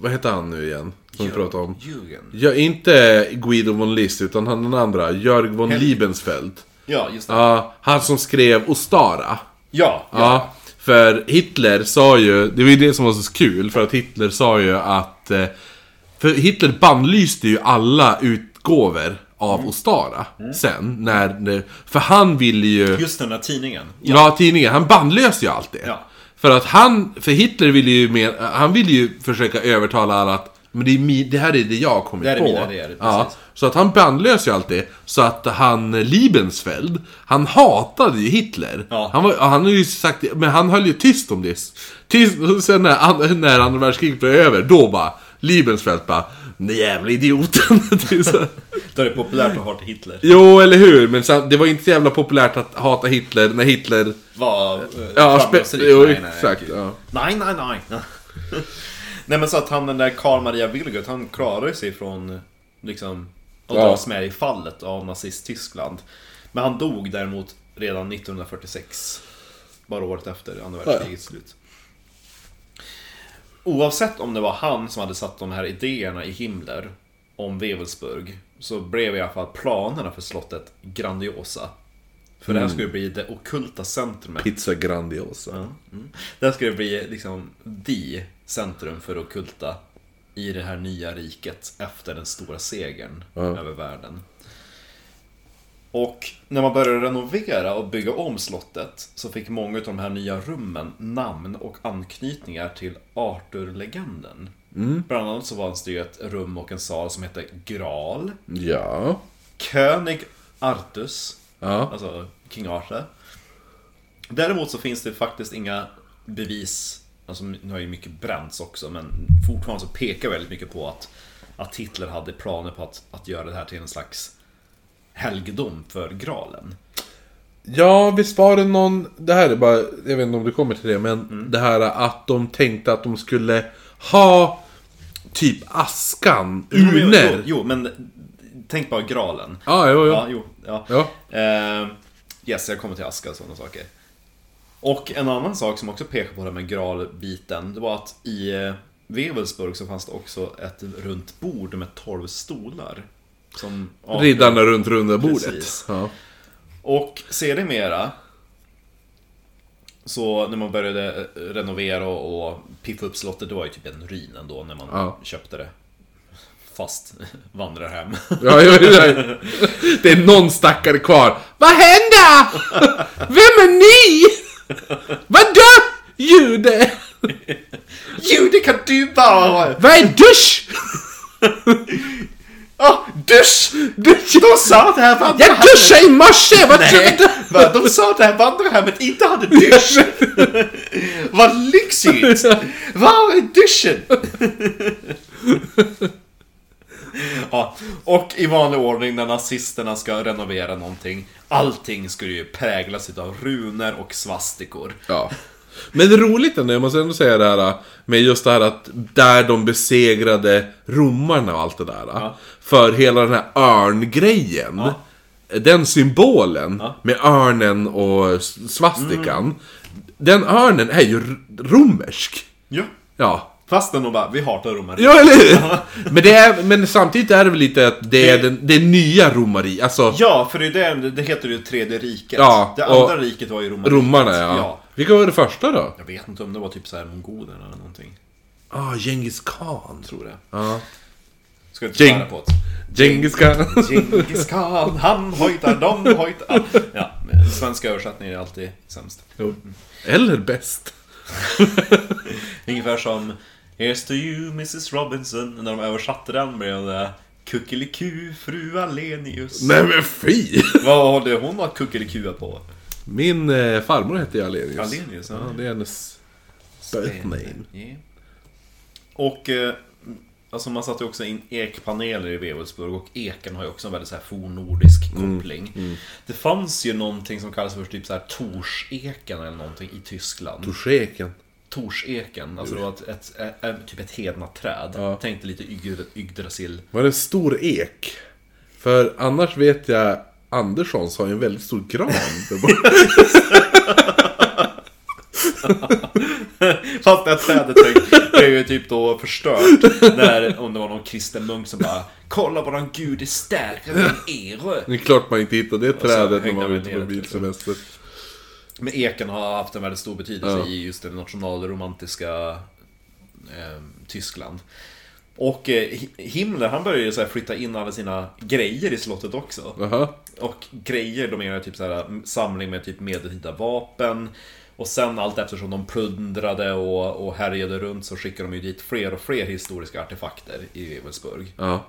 [SPEAKER 1] vad heter han nu igen? Som vi pratade om.
[SPEAKER 2] Jürgen.
[SPEAKER 1] Ja, inte Guido von List, utan han den andra, Jörg von Liebensfeld.
[SPEAKER 2] Ja, just det.
[SPEAKER 1] Ja, han som skrev Ostara.
[SPEAKER 2] Ja, ja.
[SPEAKER 1] Ja, för Hitler sa ju, det var ju det som var så kul, för att Hitler sa ju att... eh, För Hitler bannlyste ju alla utgåvor av Ostara sen, när... när- För han ville ju...
[SPEAKER 2] Just den där tidningen.
[SPEAKER 1] Ja, tidningen. Han bandlös ju allt det.
[SPEAKER 2] Ja.
[SPEAKER 1] För att han, för Hitler ville ju mer, han ville ju försöka övertala alla att men det, är mi, det här är det jag har kommit
[SPEAKER 2] Det här är
[SPEAKER 1] på.
[SPEAKER 2] mina idéer, precis.
[SPEAKER 1] ja, så att han bandlös ju allt det. Så att han, eh, Liebensfeld, han hatade ju Hitler.
[SPEAKER 2] Ja.
[SPEAKER 1] Han, var, han har ju sagt det, men han höll ju tyst om det. Tyst, och sen när, an- när andra världskriget blev över, då bara, Liebensfeld bara, den där jävla idioten. [LAUGHS] Det är så-
[SPEAKER 2] Då är det populärt att hata Hitler.
[SPEAKER 1] jo, eller hur? Men sen, det var inte så jävla populärt att hata Hitler när Hitler
[SPEAKER 2] Var eh,
[SPEAKER 1] Ja, spe-
[SPEAKER 2] framgångsrik.
[SPEAKER 1] jo,
[SPEAKER 2] Nej, nej,
[SPEAKER 1] exakt.
[SPEAKER 2] gud.
[SPEAKER 1] Ja.
[SPEAKER 2] Nej, nej, nej. [LAUGHS] nej men så att han den där Karl Maria Vilgot, han klarade sig från liksom att
[SPEAKER 1] Ja.
[SPEAKER 2] dras med i fallet av nazist-Tyskland. Men han dog däremot redan 1946. Bara året efter andra världskrigets slut. Oavsett om det var han som hade satt de här idéerna i Himmler om Wewelsburg så blev i alla fall planerna för slottet grandiosa. För det här skulle bli det ockulta centrumet
[SPEAKER 1] Pizza Grandiosa.
[SPEAKER 2] Mm. Där ska det bli liksom the centrum för det ockulta i det här nya riket efter den stora segern över världen. Och när man började renovera och bygga om slottet så fick många av de här nya rummen namn och anknytningar till Arthur-legenden. Bland annat så fanns det ju ett rum och en sal som hette Graal,
[SPEAKER 1] Ja.
[SPEAKER 2] König Artus,
[SPEAKER 1] Ja.
[SPEAKER 2] Alltså King Arthur. Däremot så finns det faktiskt inga bevis, alltså nu har ju mycket bränts också, men fortfarande så pekar väldigt mycket på att, att Hitler hade planer på att, att göra det här till en slags helgedom för graalen.
[SPEAKER 1] Ja, visst var det någon... Det här är bara... Jag vet inte om du kommer till det, men det här att de tänkte att de skulle ha typ askan,
[SPEAKER 2] Jo,
[SPEAKER 1] urner.
[SPEAKER 2] jo, men tänk bara graalen.
[SPEAKER 1] Ja, jo, jo.
[SPEAKER 2] Ja, jo, ja.
[SPEAKER 1] Ja.
[SPEAKER 2] Eh, yes, jag kommer till aska och sådana saker. Och en annan sak som också pekar på det här med gralbiten, det var att i eh, Wewelsburg så fanns det också ett runt bord med 12 stolar. Som
[SPEAKER 1] Riddarna runt runda bordet.
[SPEAKER 2] Precis.
[SPEAKER 1] Ja.
[SPEAKER 2] Och sedermera, så när man började eh, renovera och och piffa upp slottet, det var ju typ en ruin ändå när man
[SPEAKER 1] Ja.
[SPEAKER 2] köpte det. Fast [LAUGHS] vandrar hem.
[SPEAKER 1] Ja, ja, ja. [LAUGHS] Det är någon stackare kvar. Vad händer? Vem är ni? Vadå? Jude?
[SPEAKER 2] Jo, det kan du bara!
[SPEAKER 1] Vad är dusch?
[SPEAKER 2] Ah, dusch!
[SPEAKER 1] dusch?
[SPEAKER 2] [LAUGHS] De sa att det här vandrar
[SPEAKER 1] Jag duschade i morse! Vad tror
[SPEAKER 2] Nej,
[SPEAKER 1] du?
[SPEAKER 2] va? de sa att det här vandrarhemmet inte
[SPEAKER 1] [LAUGHS]
[SPEAKER 2] hade dusch! Vad lyxigt! Var är duschen? [LAUGHS] ja, Ah, och i vanlig ordning när nazisterna ska renovera någonting Allting skulle ju präglas utav runor och svastikor
[SPEAKER 1] Ja. Men det är roligt ändå, jag måste ändå säga det här äh, med just det här att där de besegrade romarna och allt det där. äh, För hela den här örngrejen. Den symbolen med örnen och s- svastikan. Den örnen är ju r- romersk.
[SPEAKER 2] Ja.
[SPEAKER 1] Ja.
[SPEAKER 2] Fastän de bara, vi hatar romare.
[SPEAKER 1] Ja, eller hur? Men, det är, men samtidigt är det väl lite att det är den, det nya romari, alltså
[SPEAKER 2] Ja, för det, är det, det heter ju tredje riket.
[SPEAKER 1] Ja,
[SPEAKER 2] det
[SPEAKER 1] och-
[SPEAKER 2] andra riket var ju romarriket.
[SPEAKER 1] romarna ja.
[SPEAKER 2] ja.
[SPEAKER 1] Vilka var det första då?
[SPEAKER 2] Jag vet inte om det var typ så här mongolerna eller någonting.
[SPEAKER 1] Ah, Genghis khan.
[SPEAKER 2] Tror det.
[SPEAKER 1] Ja.
[SPEAKER 2] Ska inte
[SPEAKER 1] Jing.
[SPEAKER 2] svära på
[SPEAKER 1] Genghis khan.
[SPEAKER 2] det. Djingis khan, han hojtar, de hojtar. Ja, men svenska översättningar är alltid sämst.
[SPEAKER 1] Eller bäst.
[SPEAKER 2] Ungefär som Here's to you Mrs Robinson. När de översatte den blev det Kuckeliku fru Alenius.
[SPEAKER 1] Nej men fy!
[SPEAKER 2] Vad håller hon att kuckelikua på?
[SPEAKER 1] Min eh, farmor hette ju Alenius.
[SPEAKER 2] Alenius, ja.
[SPEAKER 1] ja. Det är hennes birth name.
[SPEAKER 2] Eh, Yeah. Och eh, alltså man satte ju också in ekpaneler i Wewelsburg och eken har ju också en väldigt så här fornnordisk koppling. Det fanns ju någonting som kallas för typ så här Torseken eller någonting i Tyskland.
[SPEAKER 1] Torseken.
[SPEAKER 2] Torseken, alltså det var ett, ett, ett, ett, typ ett hednaträd.
[SPEAKER 1] Ja.
[SPEAKER 2] Tänkte lite Yggdra- Yggdrasil.
[SPEAKER 1] Var det en stor ek? För annars vet jag Anderssons har ju en väldigt stor gran där borta.
[SPEAKER 2] Fast det här trädet är- är ju typ då förstört. När, om det var någon kristen munk som bara Kolla våran gud är starkare än er.
[SPEAKER 1] Det är klart man inte hittar det trädet när
[SPEAKER 2] hängde
[SPEAKER 1] man
[SPEAKER 2] man
[SPEAKER 1] var ute
[SPEAKER 2] ner
[SPEAKER 1] på
[SPEAKER 2] det,
[SPEAKER 1] bilsemester.
[SPEAKER 2] Men eken har haft en väldigt stor betydelse
[SPEAKER 1] Ja.
[SPEAKER 2] i just det nationalromantiska eh, Tyskland. och eh, Hi- Himmler han började ju så här flytta in alla sina grejer i slottet också.
[SPEAKER 1] Jaha.
[SPEAKER 2] Och grejer, de menar typ så här, samling med typ medeltida vapen. Och sen allt eftersom de plundrade och, och härjade runt så skickade de ju dit fler och fler historiska artefakter i Wewelsburg.
[SPEAKER 1] Ja.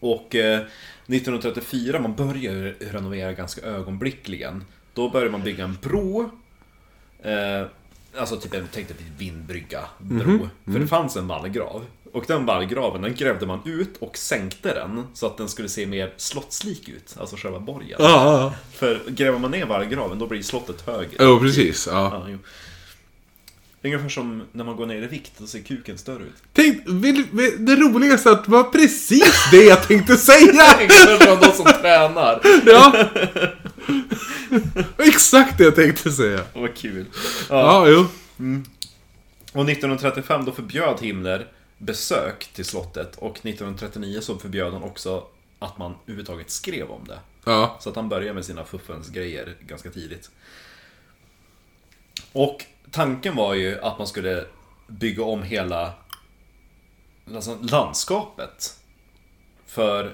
[SPEAKER 2] Och eh, 1934, man börjar ju renovera ganska ögonblickligen. Då börjar man bygga en bro. Eh, alltså typ en, tänkte typ vindbrygga bro. För det fanns en vallgrav. Och den vallgraven, den grävde man ut och sänkte den så att den skulle se mer slottslik ut. Alltså själva borgen.
[SPEAKER 1] Ja,
[SPEAKER 2] För gräver man ner vallgraven då blir slottet högre.
[SPEAKER 1] ja. Jo, precis. Ja.
[SPEAKER 2] Ja, jo. Det är Ungefär som när man går ner i vikt, då ser kuken större ut. [LAUGHS]
[SPEAKER 1] Tänk, vill, vill, det roligaste är att det var precis det jag tänkte
[SPEAKER 2] [LAUGHS]
[SPEAKER 1] säga!
[SPEAKER 2] Ungefär som de som tränar.
[SPEAKER 1] Ja. Exakt det jag tänkte säga.
[SPEAKER 2] Vad kul.
[SPEAKER 1] Ja, jo.
[SPEAKER 2] Och 1935 då förbjöd Himmler besök till slottet och 1939 så förbjöd han också att man överhuvudtaget skrev om det.
[SPEAKER 1] Ja.
[SPEAKER 2] Så att han började med sina fuffens grejer ganska tidigt. Och tanken var ju att man skulle bygga om hela alltså, landskapet. För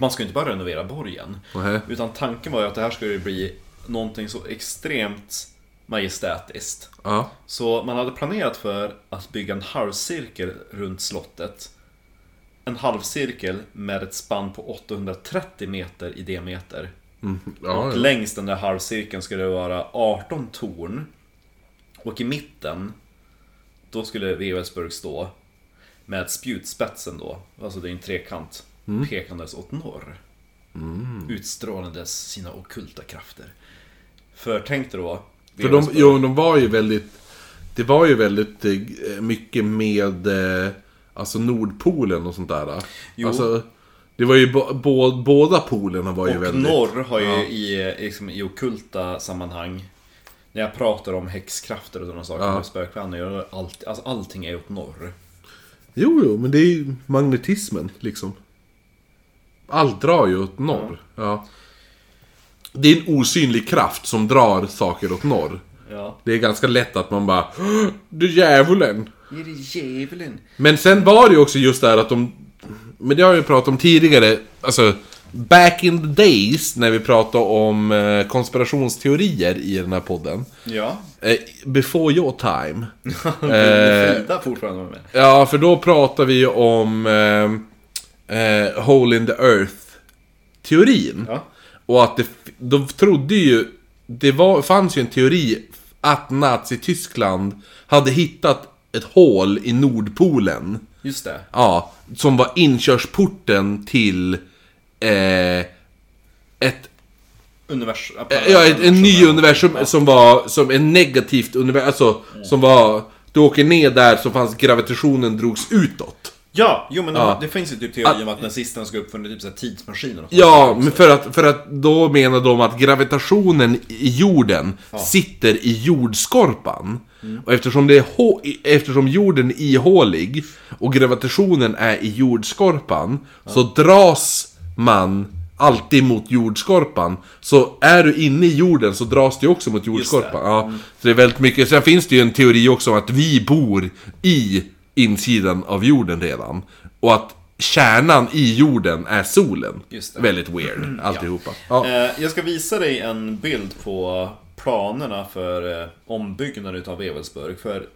[SPEAKER 2] man skulle inte bara renovera borgen.
[SPEAKER 1] Nähä.
[SPEAKER 2] Utan tanken var ju att det här skulle bli någonting så extremt majestätiskt.
[SPEAKER 1] Ja.
[SPEAKER 2] Så man hade planerat för att bygga en halvcirkel runt slottet. En halvcirkel med ett spann på 830 meter i diameter.
[SPEAKER 1] Ja,
[SPEAKER 2] Och
[SPEAKER 1] ja.
[SPEAKER 2] längs den där halvcirkeln skulle det vara 18 torn. Och i mitten, då skulle Wewelsburg stå med spjutspetsen då, alltså det är en trekant,
[SPEAKER 1] Mm.
[SPEAKER 2] pekandes åt norr. Utstrålandes sina ockulta krafter. För tänk dig då...
[SPEAKER 1] För de,
[SPEAKER 2] Wewelsburg-
[SPEAKER 1] jo, de var ju väldigt... Det var ju väldigt eh, mycket med eh, alltså Nordpolen och sånt där.
[SPEAKER 2] Jo.
[SPEAKER 1] Alltså, det var ju bo, bo, båda polerna var ju
[SPEAKER 2] Och
[SPEAKER 1] väldigt...
[SPEAKER 2] norr har ju i, liksom, i okulta sammanhang När jag pratar om häxkrafter och sådana saker,
[SPEAKER 1] Ja.
[SPEAKER 2] ja. spökvänner, jag gör allt, alltså, allting är åt norr
[SPEAKER 1] Jo, jo, men det är ju magnetismen liksom. Allt drar ju åt norr. Ja. Det är en osynlig kraft som drar saker åt norr.
[SPEAKER 2] Ja
[SPEAKER 1] Det är ganska lätt att man bara "Åh, Det är djävulen!
[SPEAKER 2] Är det djävulen?
[SPEAKER 1] Men sen var det ju också just det här att de... Men det har jag ju pratat om tidigare. Alltså, back in the days när vi pratade om eh, konspirationsteorier i den här podden. [LAUGHS]
[SPEAKER 2] Ja
[SPEAKER 1] Eh, Before your time. Eh.
[SPEAKER 2] Vill Frida fortfarande vara med?
[SPEAKER 1] Ja, för då pratar vi ju om eh, eh, Hole in the Earth-teorin.
[SPEAKER 2] Ja
[SPEAKER 1] Och att det, f- de trodde ju, det var, fanns ju en teori att Nazityskland hade hittat ett hål i Nordpolen.
[SPEAKER 2] Just det
[SPEAKER 1] Ja, som var inkörsporten till eh, ett
[SPEAKER 2] universum.
[SPEAKER 1] Ja, ett, en ny universum som var som ett negativt universum. Alltså, som var... Du åker ner där så fanns gravitationen drogs utåt.
[SPEAKER 2] Ja, jo men de-
[SPEAKER 1] Ja. Ah.
[SPEAKER 2] det finns ju typ teorier om att nazisterna ska uppfunna typ så här tidsmaskiner och sånt.
[SPEAKER 1] Ja, men för att, för att då menar de att gravitationen i jorden sitter i jordskorpan. Och eftersom, det är hå- i- eftersom jorden är ihålig och gravitationen är i jordskorpan så dras man alltid mot jordskorpan. Så är du inne i jorden så dras du också mot jordskorpan. Ja, så det är väldigt mycket. Sen finns det ju en teori också om att vi bor i insidan av jorden redan. Och att kärnan i jorden är solen.
[SPEAKER 2] Just det. Mm,
[SPEAKER 1] Väldigt weird, alltihopa. Ja.
[SPEAKER 2] Eh, Jag ska visa dig en bild på planerna för eh, ombyggnaden utav Evelsburg. För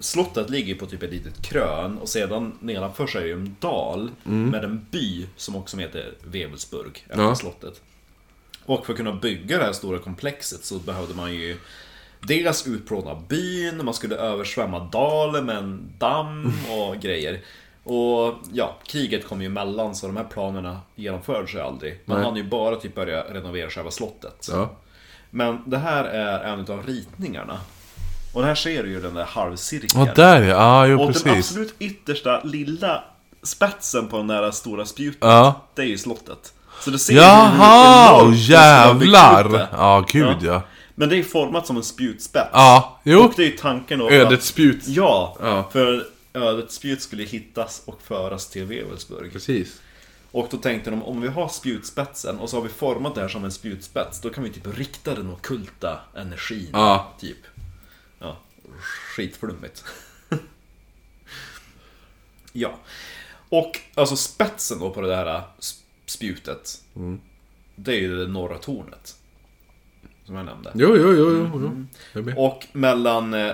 [SPEAKER 2] slottet ligger på typ ett litet krön och sedan nedanför sig är ju en dal med en by som också heter Wevelsburg, efter
[SPEAKER 1] Mm. Ja.
[SPEAKER 2] slottet. Och för att kunna bygga det här stora komplexet så behövde man ju Dels utplåna byn, man skulle översvämma dalen med en damm
[SPEAKER 1] Mm.
[SPEAKER 2] och grejer. Och ja, kriget kom ju emellan så de här planerna genomfördes ju aldrig. Man
[SPEAKER 1] Nej.
[SPEAKER 2] hann ju bara typ börja renovera själva slottet.
[SPEAKER 1] Ja.
[SPEAKER 2] Men det här är en av ritningarna. Och här ser du ju den där halvcirkeln.
[SPEAKER 1] Ja, där ja. Ja, jo
[SPEAKER 2] och den
[SPEAKER 1] precis.
[SPEAKER 2] absolut yttersta lilla spetsen på den där stora spjutet,
[SPEAKER 1] Ja.
[SPEAKER 2] det är ju slottet. Så du ser ju hur
[SPEAKER 1] Jaha!
[SPEAKER 2] enormt
[SPEAKER 1] oh,
[SPEAKER 2] de skulle ha byggt ut det.
[SPEAKER 1] Jävlar! Ja, gud ja.
[SPEAKER 2] Men det är format som en spjutspets.
[SPEAKER 1] Ja, jo.
[SPEAKER 2] Och det är ju tanken då.
[SPEAKER 1] Ödets spjut.
[SPEAKER 2] Att, ja,
[SPEAKER 1] Ja.
[SPEAKER 2] för ödets spjut skulle hittas och föras till Wewelsburg.
[SPEAKER 1] Precis.
[SPEAKER 2] Och då tänkte de, om vi har spjutspetsen och så har vi format det här som en spjutspets, då kan vi typ rikta den ockulta energin.
[SPEAKER 1] Ja.
[SPEAKER 2] Typ. Ja, skitflummigt. [LAUGHS] ja. Och alltså spetsen då på det här äh, sp- spjutet, det är ju det norra tornet. Som jag nämnde.
[SPEAKER 1] Jo, jo, jo, jo. jo.
[SPEAKER 2] Mm.
[SPEAKER 1] Jag är med.
[SPEAKER 2] Och mellan eh,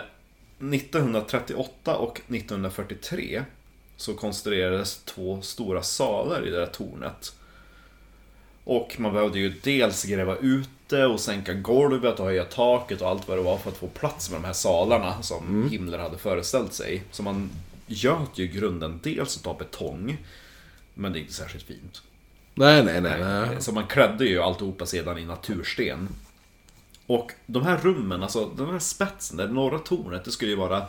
[SPEAKER 2] 1938 och 1943 så konstruerades två stora salar i det där tornet. Och man behövde ju dels gräva ut det och sänka golvet och höja taket och allt vad det var för att få plats med de här salarna som Himmler hade föreställt sig. Så man göt ju grunden dels av betong, men det är inte särskilt fint.
[SPEAKER 1] Nej, nej, nej. nej.
[SPEAKER 2] Eh, Så man klädde ju alltihopa sedan i natursten. Och de här rummen, alltså den här spetsen, det norra tornet, det skulle ju vara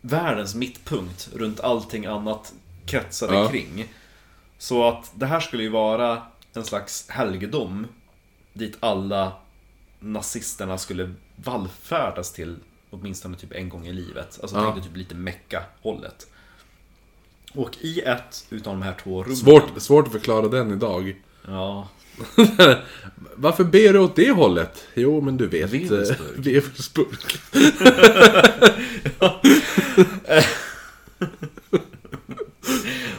[SPEAKER 2] världens mittpunkt runt allting annat kretsade
[SPEAKER 1] Ja.
[SPEAKER 2] kring. Så att det här skulle ju vara en slags helgedom dit alla nazisterna skulle vallfärdas till åtminstone typ en gång i livet. Alltså
[SPEAKER 1] Ja.
[SPEAKER 2] tänkte typ lite mecka-hållet. Och i ett utav de här två rummen...
[SPEAKER 1] Svårt, svårt att förklara den idag.
[SPEAKER 2] Ja,
[SPEAKER 1] Varför ber du åt det hållet? Jo, men du vet.
[SPEAKER 2] Wevelsburg.
[SPEAKER 1] eh, Wevelsburg.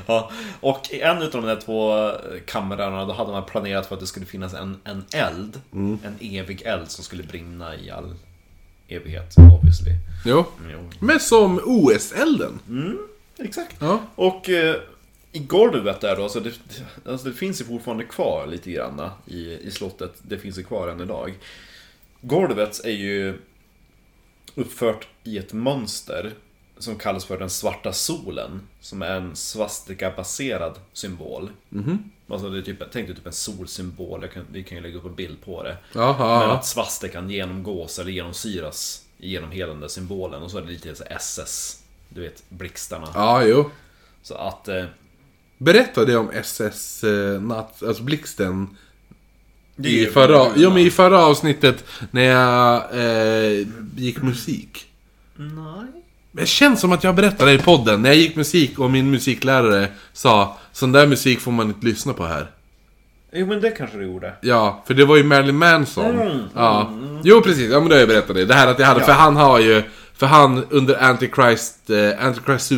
[SPEAKER 2] Ja, och i en av de där två eh, kamrarna då hade man planerat för att det skulle finnas en, en eld. En evig eld som skulle brinna i all evighet, obviously.
[SPEAKER 1] Jo. Men som OS-elden.
[SPEAKER 2] Exakt.
[SPEAKER 1] Ja.
[SPEAKER 2] Och eh, i golvet där då, så det, alltså det finns ju fortfarande kvar lite grann i, i slottet. Det finns ju kvar än idag. Golvet är ju uppfört i ett mönster som kallas för den svarta solen. Som är en svastikabaserad symbol.
[SPEAKER 1] Mhm.
[SPEAKER 2] Alltså det är typ, tänk dig typ en solsymbol, jag kan, vi kan ju lägga upp en bild på det.
[SPEAKER 1] Ja, ja,
[SPEAKER 2] Men
[SPEAKER 1] ja.
[SPEAKER 2] att svastikan genomgås eller genomsyras genom hela den där symbolen. Och så är det lite så här SS, du vet blixtarna.
[SPEAKER 1] Ja, jo.
[SPEAKER 2] Så att... eh,
[SPEAKER 1] Berätta det om SS eh, natt, alltså blixten.
[SPEAKER 2] Det är
[SPEAKER 1] I
[SPEAKER 2] ju-
[SPEAKER 1] förra, ja, men i förra avsnittet när jag eh, gick musik.
[SPEAKER 2] Nej.
[SPEAKER 1] Det känns som att jag berättade i podden när jag gick musik och min musiklärare sa Sån där musik får man inte lyssna på här.
[SPEAKER 2] Jo men det kanske du gjorde.
[SPEAKER 1] Ja, för det var ju Marilyn Manson. Ja. Jo, precis. Ja, men det har jag berättat det. Det här att jag hade, för han har ju, för han under Antichrist, eh, Antichrist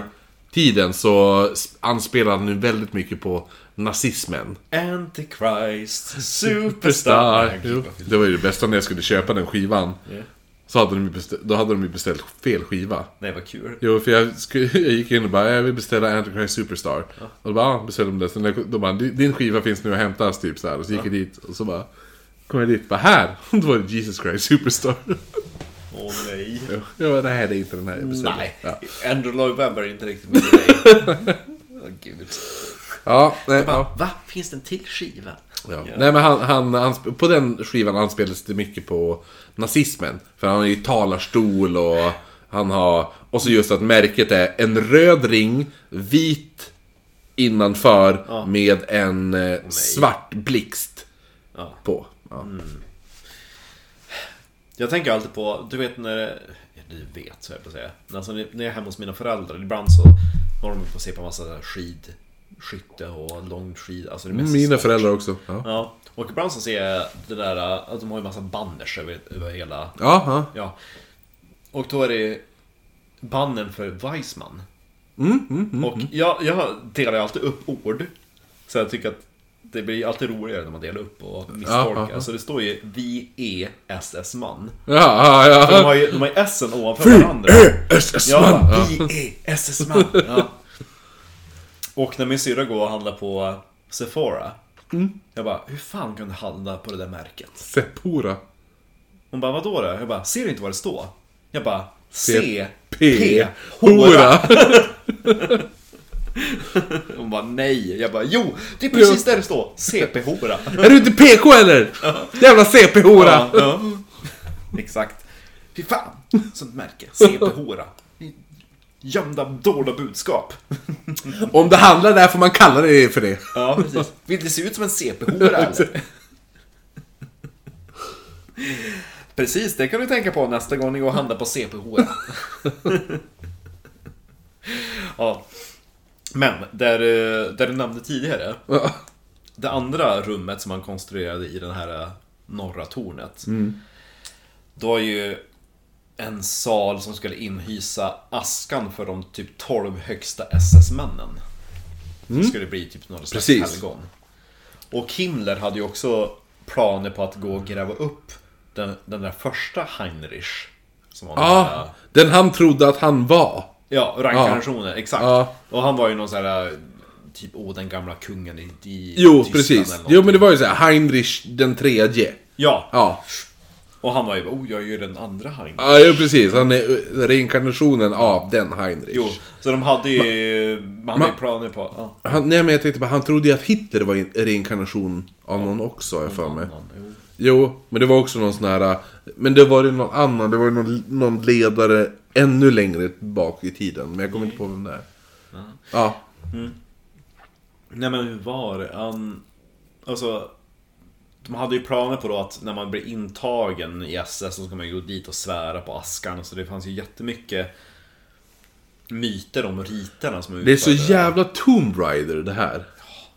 [SPEAKER 1] Superstar-tiden så s- anspelade han nu väldigt mycket på nazismen.
[SPEAKER 2] [LAUGHS] Antichrist,
[SPEAKER 1] Superstar.
[SPEAKER 2] superstar.
[SPEAKER 1] Jo. Det var ju det bästa när jag skulle köpa den skivan.
[SPEAKER 2] Ja.
[SPEAKER 1] Så hade de ju beställt, då hade de ju beställt fel skiva.
[SPEAKER 2] Nej vad kul.
[SPEAKER 1] Jo, för jag, skulle, [LAUGHS] jag gick in och bara jag vill beställa Antichrist Superstar. Och då bara, ja, beställde de det. Sen när jag- de bara, din din skiva finns nu och hämtas typ så här. Och så gick jag dit och så bara, kom jag dit bara här. [LAUGHS] Då var det Jesus Christ Superstar.
[SPEAKER 2] Åh [LAUGHS] nej.
[SPEAKER 1] Jo, jag bara, nej det är inte den här
[SPEAKER 2] [LAUGHS]
[SPEAKER 1] jag beställde.
[SPEAKER 2] Nej.
[SPEAKER 1] Ja.
[SPEAKER 2] [LAUGHS] Andrew Lloyd Webber är inte riktigt med dig. Åh gud.
[SPEAKER 1] Ja, nej,
[SPEAKER 2] Bara,
[SPEAKER 1] ja.
[SPEAKER 2] Va? Finns det en till skiva?
[SPEAKER 1] Ja. Nej, men han, han, han, sp- på den skivan anspelades det mycket på nazismen. För han har ju talarstol och han har... Och så just att märket är en röd ring, vit innanför med en eh, svart blixt
[SPEAKER 2] Ja. Mm.
[SPEAKER 1] på. Ja.
[SPEAKER 2] Jag tänker alltid på, du vet när det- ja, du vet så jag på säga. Men Alltså, när jag är hemma hos mina föräldrar, ibland så har de på se på en massa skidskytte och långskid. Alltså det mest
[SPEAKER 1] Mina föräldrar också. Ja,
[SPEAKER 2] Ja, och ibland så ser jag det där att de har ju massa banners över, över hela...
[SPEAKER 1] ja. ja.
[SPEAKER 2] Ja. Och då är det bannern för Weissman.
[SPEAKER 1] Mm,
[SPEAKER 2] och Jag, jag delar ju alltid upp ord. Så jag tycker att det blir alltid roligare när man delar upp och misstolkar.
[SPEAKER 1] Ja, ja, ja.
[SPEAKER 2] Så det står ju E V-E-S-S-man.
[SPEAKER 1] ja, ja, E
[SPEAKER 2] De
[SPEAKER 1] ja.
[SPEAKER 2] har ju, de har ju S ovanför varandra. Ja,
[SPEAKER 1] Ja.
[SPEAKER 2] E B-E-S-S-man. [LAUGHS] Ja. Och när min syrra går och handlar på eh, Sephora. Jag bara, hur fan kan du handla på det där märket?
[SPEAKER 1] Sepora.
[SPEAKER 2] Hon bara, vadå då? Jag bara, ser du inte vad det står? Jag bara,
[SPEAKER 1] C-
[SPEAKER 2] C,
[SPEAKER 1] P.
[SPEAKER 2] P,
[SPEAKER 1] Hora.
[SPEAKER 2] hora. Hon bara, nej. Jag bara, jo, det är precis där det står. CP, hora.
[SPEAKER 1] Är du inte PK eller? Jävla CP-hora!
[SPEAKER 2] Ja, ja. [LAUGHS] Exakt. Fy fan, sånt märke. CP, hora. Gömda, dolda budskap.
[SPEAKER 1] Om det handlar där får man kalla det för det.
[SPEAKER 2] Ja, precis. Vill det se ut som
[SPEAKER 1] [LAUGHS]
[SPEAKER 2] en CP-hora eller? Precis, det kan du tänka på nästa gång ni går och handlar på CP-hora. ja. Men, där, eh, där du nämnde tidigare.
[SPEAKER 1] Ja.
[SPEAKER 2] Det andra rummet som man konstruerade i den här eh, norra tornet.
[SPEAKER 1] Mm.
[SPEAKER 2] Det var ju en sal som skulle inhysa askan för de typ 12 högsta SS-männen. Det skulle bli typ några slags
[SPEAKER 1] Mm. Precis.
[SPEAKER 2] helgon. Och Himmler hade ju också planer på att gå och gräva upp den, den där första Heinrich. Som var den där-
[SPEAKER 1] Ja, den han trodde att han var.
[SPEAKER 2] Ja, reinkarnationen,
[SPEAKER 1] Ah.
[SPEAKER 2] exakt.
[SPEAKER 1] Ja.
[SPEAKER 2] Och han var ju någon sån här, typ, åh den gamla kungen i, i
[SPEAKER 1] Jo,
[SPEAKER 2] Tyskland
[SPEAKER 1] precis.
[SPEAKER 2] eller
[SPEAKER 1] Jo,
[SPEAKER 2] någonting.
[SPEAKER 1] men det var ju så här, Heinrich den tredje.
[SPEAKER 2] Ja.
[SPEAKER 1] Ja,
[SPEAKER 2] och han var ju bara, oh jag är ju den andra Heinrich.
[SPEAKER 1] ja jo, precis. Han är eh, reinkarnationen av den Heinrich.
[SPEAKER 2] Jo, så de hade ju, man hade ju planer på, ja.
[SPEAKER 1] Han, nej, men jag tänkte bara, han trodde ju att Hitler var en reinkarnation av någon också, har jag för mig.
[SPEAKER 2] någon, jo.
[SPEAKER 1] Jo, men det var också någon sån här... eh, Men det var ju någon annan, det var ju någon, någon ledare ännu längre bak i tiden. Men jag kommer inte på vem det är. Ja,
[SPEAKER 2] Nej men hur var det? Han, alltså, de hade ju planer på då att när man blir intagen i SS så ska man ju gå dit och svära på askan. Så det fanns ju jättemycket myter om riterna som
[SPEAKER 1] det är så
[SPEAKER 2] utförde
[SPEAKER 1] jävla Tomb Raider det här.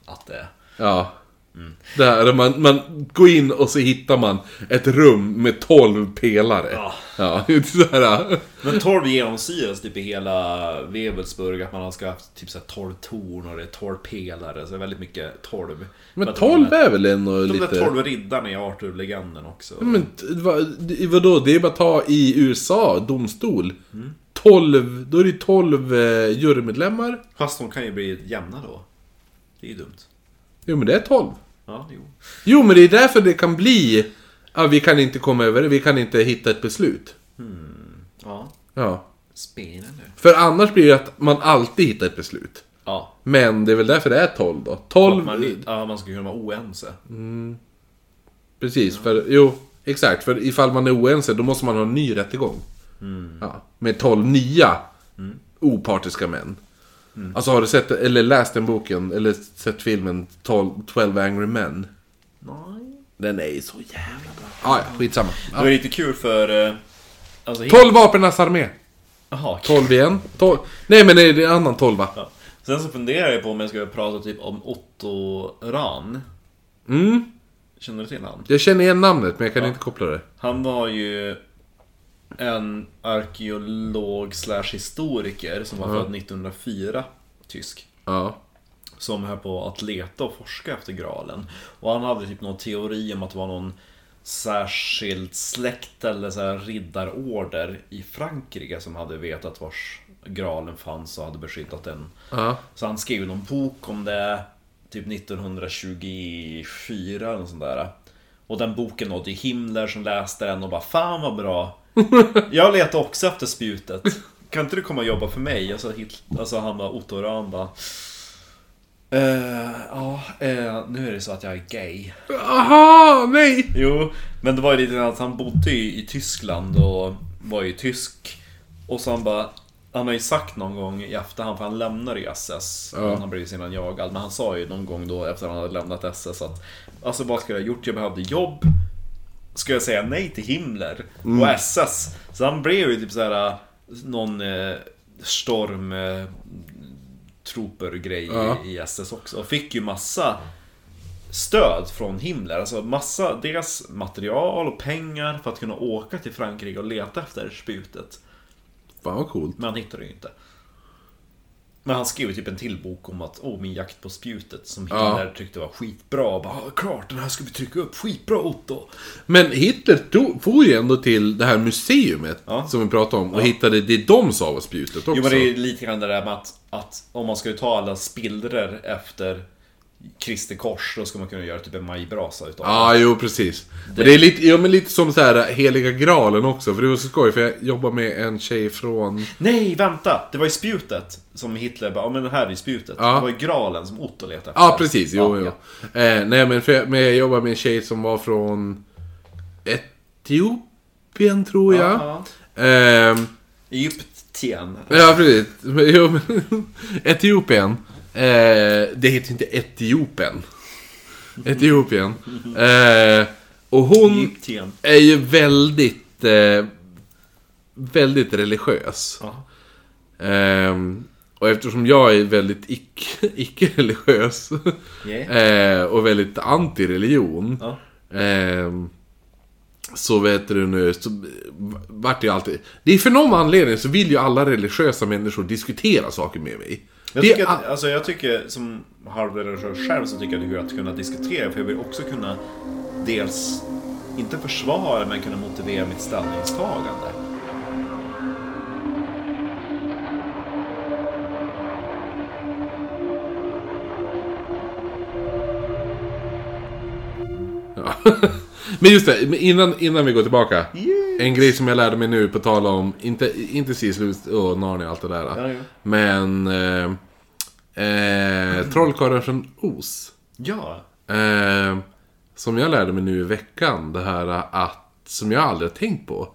[SPEAKER 2] att det
[SPEAKER 1] Ja.
[SPEAKER 2] Mm.
[SPEAKER 1] Det här, där man, man går in och så hittar man ett rum med 12 pelare.
[SPEAKER 2] Ja.
[SPEAKER 1] Ja, [LAUGHS] det är så här. äh.
[SPEAKER 2] Men 12 genomsyras typ i hela Webelsburg att man ska ha haft typ så här 12 torn och det är 12 pelare, så det är väldigt mycket 12.
[SPEAKER 1] Men 12 är väl ändå
[SPEAKER 2] De där
[SPEAKER 1] lite... Mm.
[SPEAKER 2] 12 riddarna i Arthur-legenden också.
[SPEAKER 1] Men t- vad, det- vadå, det är bara att ta i USA, domstol.
[SPEAKER 2] Mm.
[SPEAKER 1] 12, då är det ju 12 eh, jurymedlemmar.
[SPEAKER 2] Fast de kan ju bli jämna då. Det är ju dumt.
[SPEAKER 1] Jo men det är 12.
[SPEAKER 2] Ja, jo.
[SPEAKER 1] Jo men det är därför det kan bli... Ja, vi kan inte komma över det, vi kan inte hitta ett beslut.
[SPEAKER 2] Ja,
[SPEAKER 1] Ja.
[SPEAKER 2] spännande.
[SPEAKER 1] För annars blir det att man alltid hittar ett beslut.
[SPEAKER 2] Ja,
[SPEAKER 1] Men det är väl därför det är 12 då.
[SPEAKER 2] och
[SPEAKER 1] 12...
[SPEAKER 2] att man, ja, man ska kunna vara oense.
[SPEAKER 1] Mm. Precis, för jo, exakt. För ifall man är oense då måste man ha en ny rättegång. Ja, med 12 nya Mm. opartiska män. Alltså har du sett, eller läst den boken, eller sett filmen 12, 12 Angry Men?
[SPEAKER 2] Nej.
[SPEAKER 1] Den är ju så jävla bra. Ah, ja, skitsamma.
[SPEAKER 2] Det var lite kul för... eh, Alltså,
[SPEAKER 1] 12 vapenas armé.
[SPEAKER 2] Aha, kul.
[SPEAKER 1] 12 igen. 12. Nej men nej, det är en annan 12 va?
[SPEAKER 2] Ja. Sen så funderar jag på om jag ska prata typ om Otto Rahn.
[SPEAKER 1] Mm.
[SPEAKER 2] Känner du till han?
[SPEAKER 1] Jag känner igen namnet men jag kan inte koppla det.
[SPEAKER 2] Han var ju en arkeolog slash historiker som var född 1904, tysk.
[SPEAKER 1] Ja.
[SPEAKER 2] Som höll på att leta och forska efter graalen. Och han hade typ någon teori om att det var någon särskild släkt eller så här riddarorder i Frankrike som hade vetat vars graalen fanns och hade beskyddat den.
[SPEAKER 1] Ja.
[SPEAKER 2] Så han skrev någon bok om det Typ 1924 eller något sånt där Och den boken nådde ju Himmler som läste den och bara Fan vad bra Jag letar också efter spjutet alltså, Kan inte du komma och jobba för mig? Och så Hitler, alltså han bara Otto Rahn bara
[SPEAKER 1] Eh,
[SPEAKER 2] Ja, eh, nu är det så att jag är gay.
[SPEAKER 1] aha, nej!
[SPEAKER 2] [LAUGHS] Jo, men det var ju lite grann att han bodde i, i Tyskland och var ju tysk. Och så han bara, han har ju sagt någon gång i efterhand, för han lämnade ju SS.
[SPEAKER 1] Ja.
[SPEAKER 2] Han blev ju sedan jagad, men han sa ju någon gång då efter han hade lämnat SS att Alltså vad skulle jag ha gjort? Jag behövde jobb. Skulle jag säga nej till Himmler
[SPEAKER 1] Mm.
[SPEAKER 2] och SS? Så han blev ju typ såhär någon eh, storm... Eh, trooper-grej i-
[SPEAKER 1] Ja.
[SPEAKER 2] i SS också. Och fick ju massa stöd från Himmler. Alltså massa, deras material och pengar för att kunna åka till Frankrike och leta efter sputet.
[SPEAKER 1] Fan vad coolt.
[SPEAKER 2] Men han hittade det ju inte. Men han skrev ju typ en till bok om att Åh, min jakt på spjutet som
[SPEAKER 1] Ja.
[SPEAKER 2] Hitler tyckte var skitbra. Och Bara, "Ja, klart, den här ska vi trycka upp. Skitbra Otto!
[SPEAKER 1] Men Hitler tog, for ju ändå till det här museumet
[SPEAKER 2] Ja.
[SPEAKER 1] som vi pratade om och hittade det de sa var spjutet också.
[SPEAKER 2] Jo men det är ju lite grann det där med att, att om man skulle ta alla spillror efter Kristi kors, då ska man kunna göra typ en majbrasa utav
[SPEAKER 1] Ja, jo precis. Men det är lite, ja, men lite som så här äh, heliga graalen också, för det var så skoj, för jag jobbar med en tjej från...
[SPEAKER 2] Nej, vänta! Det var ju spjutet som Hitler bara, ja men det här är ju spjutet.
[SPEAKER 1] Ja.
[SPEAKER 2] Det var ju graalen som Otto letade efter.
[SPEAKER 1] Ja, precis. Jo,
[SPEAKER 2] Ja,
[SPEAKER 1] jo.
[SPEAKER 2] ja.
[SPEAKER 1] Eh, nej, men, för jag, men jag jobbar med en tjej som var från Etiopien, tror jag.
[SPEAKER 2] Ja,
[SPEAKER 1] Ehm,
[SPEAKER 2] Egypten.
[SPEAKER 1] Ja, precis. [LAUGHS] Men, jo, men, Etiopien. Eh, det heter inte Etiopen. Etiopien. Eh, och hon
[SPEAKER 2] Egypten.
[SPEAKER 1] är ju väldigt, eh, väldigt religiös.
[SPEAKER 2] Ja.
[SPEAKER 1] Ehm, och eftersom jag är väldigt ic- [LAUGHS] icke-religiös
[SPEAKER 2] Yeah.
[SPEAKER 1] eh, och väldigt anti-religion.
[SPEAKER 2] Ja.
[SPEAKER 1] ehm, så vet du nu, så vart det ju alltid... Det är för någon anledning så vill ju alla religiösa människor diskutera saker med mig.
[SPEAKER 2] Jag,
[SPEAKER 1] Det är
[SPEAKER 2] tycker
[SPEAKER 1] all-
[SPEAKER 2] att, alltså, jag tycker som halvreligiös själv så tycker jag det är kul att kunna diskutera för jag vill också kunna dels inte försvara men kunna motivera mitt ställningstagande.
[SPEAKER 1] [LAUGHS] Men just det, men innan, innan vi går tillbaka. En grej som jag lärde mig nu på tal om, inte, inte Sislus och Narnia och allt det där.
[SPEAKER 2] Ja, ja.
[SPEAKER 1] Men... Eh, eh, Trollkarlen från Oz.
[SPEAKER 2] Ja.
[SPEAKER 1] Eh, som jag lärde mig nu i veckan, det här att, som jag aldrig har tänkt på.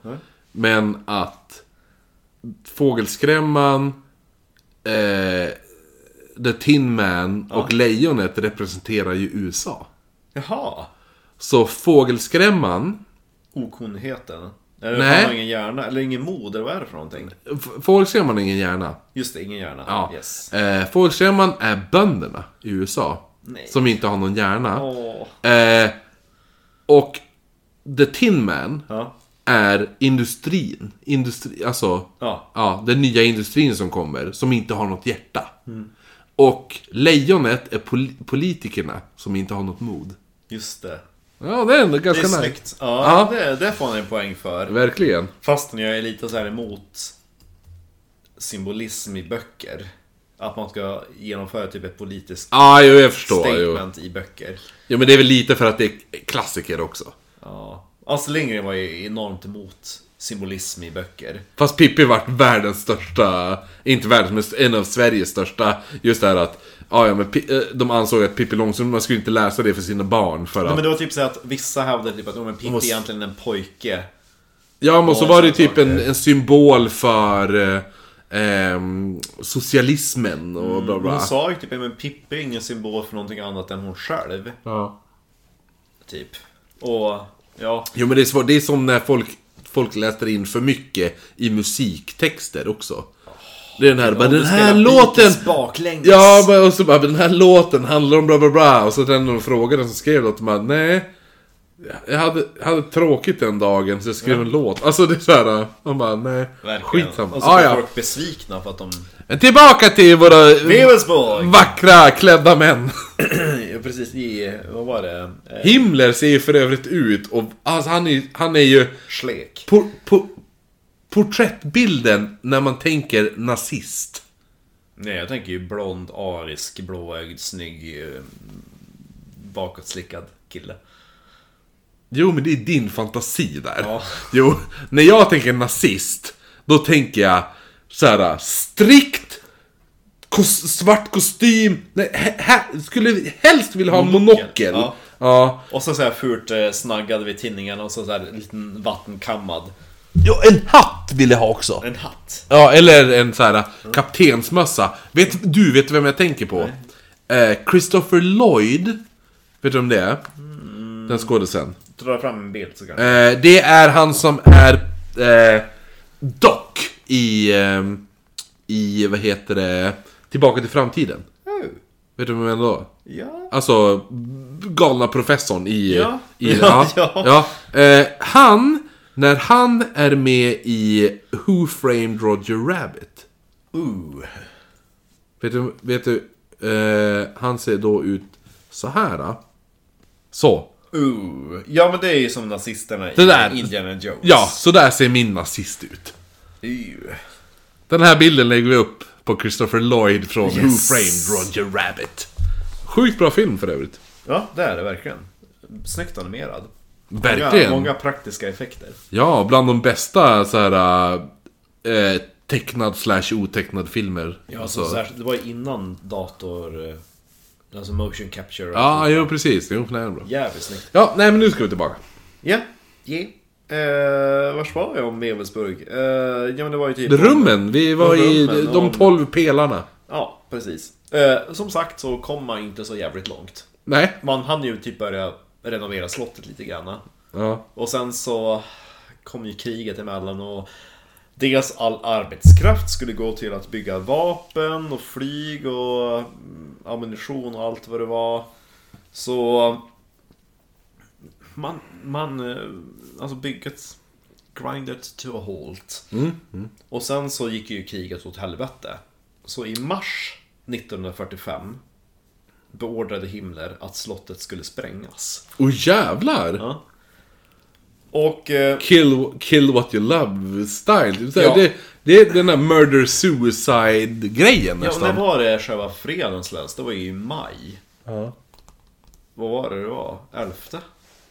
[SPEAKER 1] Men att fågelskrämman, eh, The Tin Man och lejonet representerar ju USA.
[SPEAKER 2] Jaha.
[SPEAKER 1] Så fågelskrämman,
[SPEAKER 2] Okunnigheten. Eller
[SPEAKER 1] Nej.
[SPEAKER 2] han har ingen hjärna, eller ingen mod, eller vad är det för någonting?
[SPEAKER 1] f- fågelskrämman är ingen hjärna.
[SPEAKER 2] Just det, ingen hjärna.
[SPEAKER 1] Ja.
[SPEAKER 2] Yes.
[SPEAKER 1] Eh, fågelskrämman är bönderna i USA.
[SPEAKER 2] Nej.
[SPEAKER 1] Som inte har någon hjärna.
[SPEAKER 2] Åh.
[SPEAKER 1] Eh, och The Tin Man
[SPEAKER 2] Ja.
[SPEAKER 1] är industrin. Industri, alltså,
[SPEAKER 2] Ja.
[SPEAKER 1] den nya industrin som kommer, som inte har något hjärta.
[SPEAKER 2] Mm.
[SPEAKER 1] Och lejonet är pol politikerna som inte har något mod.
[SPEAKER 2] Just det.
[SPEAKER 1] Ja, det är ändå
[SPEAKER 2] Det
[SPEAKER 1] ganska
[SPEAKER 2] är
[SPEAKER 1] nice.
[SPEAKER 2] snyggt. Ja,
[SPEAKER 1] Ja.
[SPEAKER 2] det, det får han en poäng för.
[SPEAKER 1] Verkligen.
[SPEAKER 2] Fastän jag är lite så här emot symbolism i böcker. Att man ska genomföra typ ett politiskt
[SPEAKER 1] Ja, jo, jag förstår. Jo.
[SPEAKER 2] statement i böcker.
[SPEAKER 1] jo, men det är väl lite för att det är klassiker också.
[SPEAKER 2] Ja. Astrid Lindgren var ju enormt emot symbolism i böcker.
[SPEAKER 1] Fast Pippi vart världens största, inte världens, men en av Sveriges största. Just det här att, ja, ja men Pi- eh, de ansåg att Pippi Långstrump, man skulle inte läsa det för sina barn. För
[SPEAKER 2] Nej,
[SPEAKER 1] att
[SPEAKER 2] men det var typ så här att vissa hävdade typ att oh, men Pippi
[SPEAKER 1] måste-
[SPEAKER 2] är egentligen en pojke.
[SPEAKER 1] Ja, men så
[SPEAKER 2] Ja,
[SPEAKER 1] var det ju
[SPEAKER 2] sådana
[SPEAKER 1] typ en,
[SPEAKER 2] saker.
[SPEAKER 1] en symbol för eh, ehm, socialismen och bla bla.
[SPEAKER 2] Hon sa ju typ att Pippi är ingen symbol för någonting annat än hon själv.
[SPEAKER 1] Ja.
[SPEAKER 2] Typ. Och ja,
[SPEAKER 1] Jo, men det är, svårt. det är som när folk, folk läser in för mycket i musiktexter också. Det är den här, bara,
[SPEAKER 2] Om du
[SPEAKER 1] den här
[SPEAKER 2] spelar
[SPEAKER 1] låten...
[SPEAKER 2] Beatles baklänges.
[SPEAKER 1] Ja, men- och så bara, den här låten handlar om bla bla bla. Och så den de frågade som skrev låten bara, nej. Jag hade, jag hade tråkigt den dagen så jag skrev en låt. Alltså det är såhär, man bara, nej.
[SPEAKER 2] Verkligen.
[SPEAKER 1] Skitsamma.
[SPEAKER 2] Och så
[SPEAKER 1] Ah,
[SPEAKER 2] blir
[SPEAKER 1] ja.
[SPEAKER 2] folk besvikna för att de...
[SPEAKER 1] Men Tillbaka till våra [CLEARS THROAT]
[SPEAKER 2] Bevelsborg!
[SPEAKER 1] vackra klädda män.
[SPEAKER 2] Precis, i... Vad var det? Eh,
[SPEAKER 1] Himmler ser ju för övrigt ut och alltså, han, är, ju- han är ju
[SPEAKER 2] Schlek.
[SPEAKER 1] por, por, porträttbilden när man tänker nazist.
[SPEAKER 2] Nej, jag tänker ju blond, arisk, blåögd, snygg, eh, bakåtslickad kille.
[SPEAKER 1] Jo, men det är din fantasi där.
[SPEAKER 2] Ja.
[SPEAKER 1] Jo, när jag tänker nazist, då tänker jag så här strikt kos, svart kostym. Nej, he, he, skulle helst vilja ha monokel.
[SPEAKER 2] Monokel, ja.
[SPEAKER 1] ja.
[SPEAKER 2] Och så, så här fult eh, snaggad vid tinningarna och så, så här liten vattenkammad.
[SPEAKER 1] Ja, en hatt vill jag ha också.
[SPEAKER 2] En hatt.
[SPEAKER 1] Ja, eller en så här eh, kaptensmössa. Vet, du, vet vem jag tänker på? Eh, Christopher Lloyd. Vet du vem det är? Den skådisen.
[SPEAKER 2] Dra fram en bild så kan
[SPEAKER 1] Eh, det är han som är eh, Doc i, eh, i, vad heter det, Tillbaka till framtiden.
[SPEAKER 2] Oh,
[SPEAKER 1] Vet du vem jag menar då?
[SPEAKER 2] Ja.
[SPEAKER 1] Alltså, galna professorn i...
[SPEAKER 2] Ja.
[SPEAKER 1] i
[SPEAKER 2] [LAUGHS] Ja, ja.
[SPEAKER 1] ja. Eh, han, när han är med i Who Framed Roger Rabbit.
[SPEAKER 2] Ooh.
[SPEAKER 1] Vet du, vet du eh, han ser då ut så här. ah. Så.
[SPEAKER 2] Ooh. Ja men det är ju som nazisterna
[SPEAKER 1] Det där.
[SPEAKER 2] i Indiana Jones.
[SPEAKER 1] Ja, så där ser min nazist ut.
[SPEAKER 2] Ew.
[SPEAKER 1] Den här bilden lägger vi upp på Christopher Lloyd från
[SPEAKER 2] Yes.
[SPEAKER 1] Who Framed Roger Rabbit. Sjukt bra film för övrigt.
[SPEAKER 2] Ja, det är det verkligen. Snyggt animerad.
[SPEAKER 1] Verkligen.
[SPEAKER 2] Många, många praktiska effekter.
[SPEAKER 1] Ja, bland de bästa så här eh, tecknad slash otecknad filmer.
[SPEAKER 2] Ja, alltså, särskilt- det var ju innan dator... eh, Alltså motion capture. och
[SPEAKER 1] ja,
[SPEAKER 2] allt.
[SPEAKER 1] jo precis. Jo, det är bra.
[SPEAKER 2] Jävligt snyggt.
[SPEAKER 1] Ja, nej men nu ska vi tillbaka.
[SPEAKER 2] Ja. Yeah. Eh, vars var jag om Mevelsburg? Eh, ja men det var ju typ...
[SPEAKER 1] Rummen, vi var i
[SPEAKER 2] Rummen,
[SPEAKER 1] de
[SPEAKER 2] ja.
[SPEAKER 1] tolv pelarna.
[SPEAKER 2] Ja, precis. Eh, som sagt så kom man inte så jävligt långt.
[SPEAKER 1] Nej.
[SPEAKER 2] Man hann ju typ börja renovera slottet lite grann.
[SPEAKER 1] Ja.
[SPEAKER 2] Och sen så kom ju kriget emellan och dels all arbetskraft skulle gå till att bygga vapen och flyg och mm, ammunition och allt vad det var. Så man, man eh, alltså bygget grindet to a halt. Och sen så gick ju kriget åt helvete. Så i mars 1945 beordrade Himmler att slottet skulle sprängas.
[SPEAKER 1] Och jävlar!
[SPEAKER 2] Ja. Och eh,
[SPEAKER 1] Kill, kill what you love style. Så här,
[SPEAKER 2] Ja.
[SPEAKER 1] Det, det är den där murder suicide grejen
[SPEAKER 2] Ja, när
[SPEAKER 1] nästan.
[SPEAKER 2] var det själva freden släpps? Det var ju i maj. Vad var det det var? Elfte?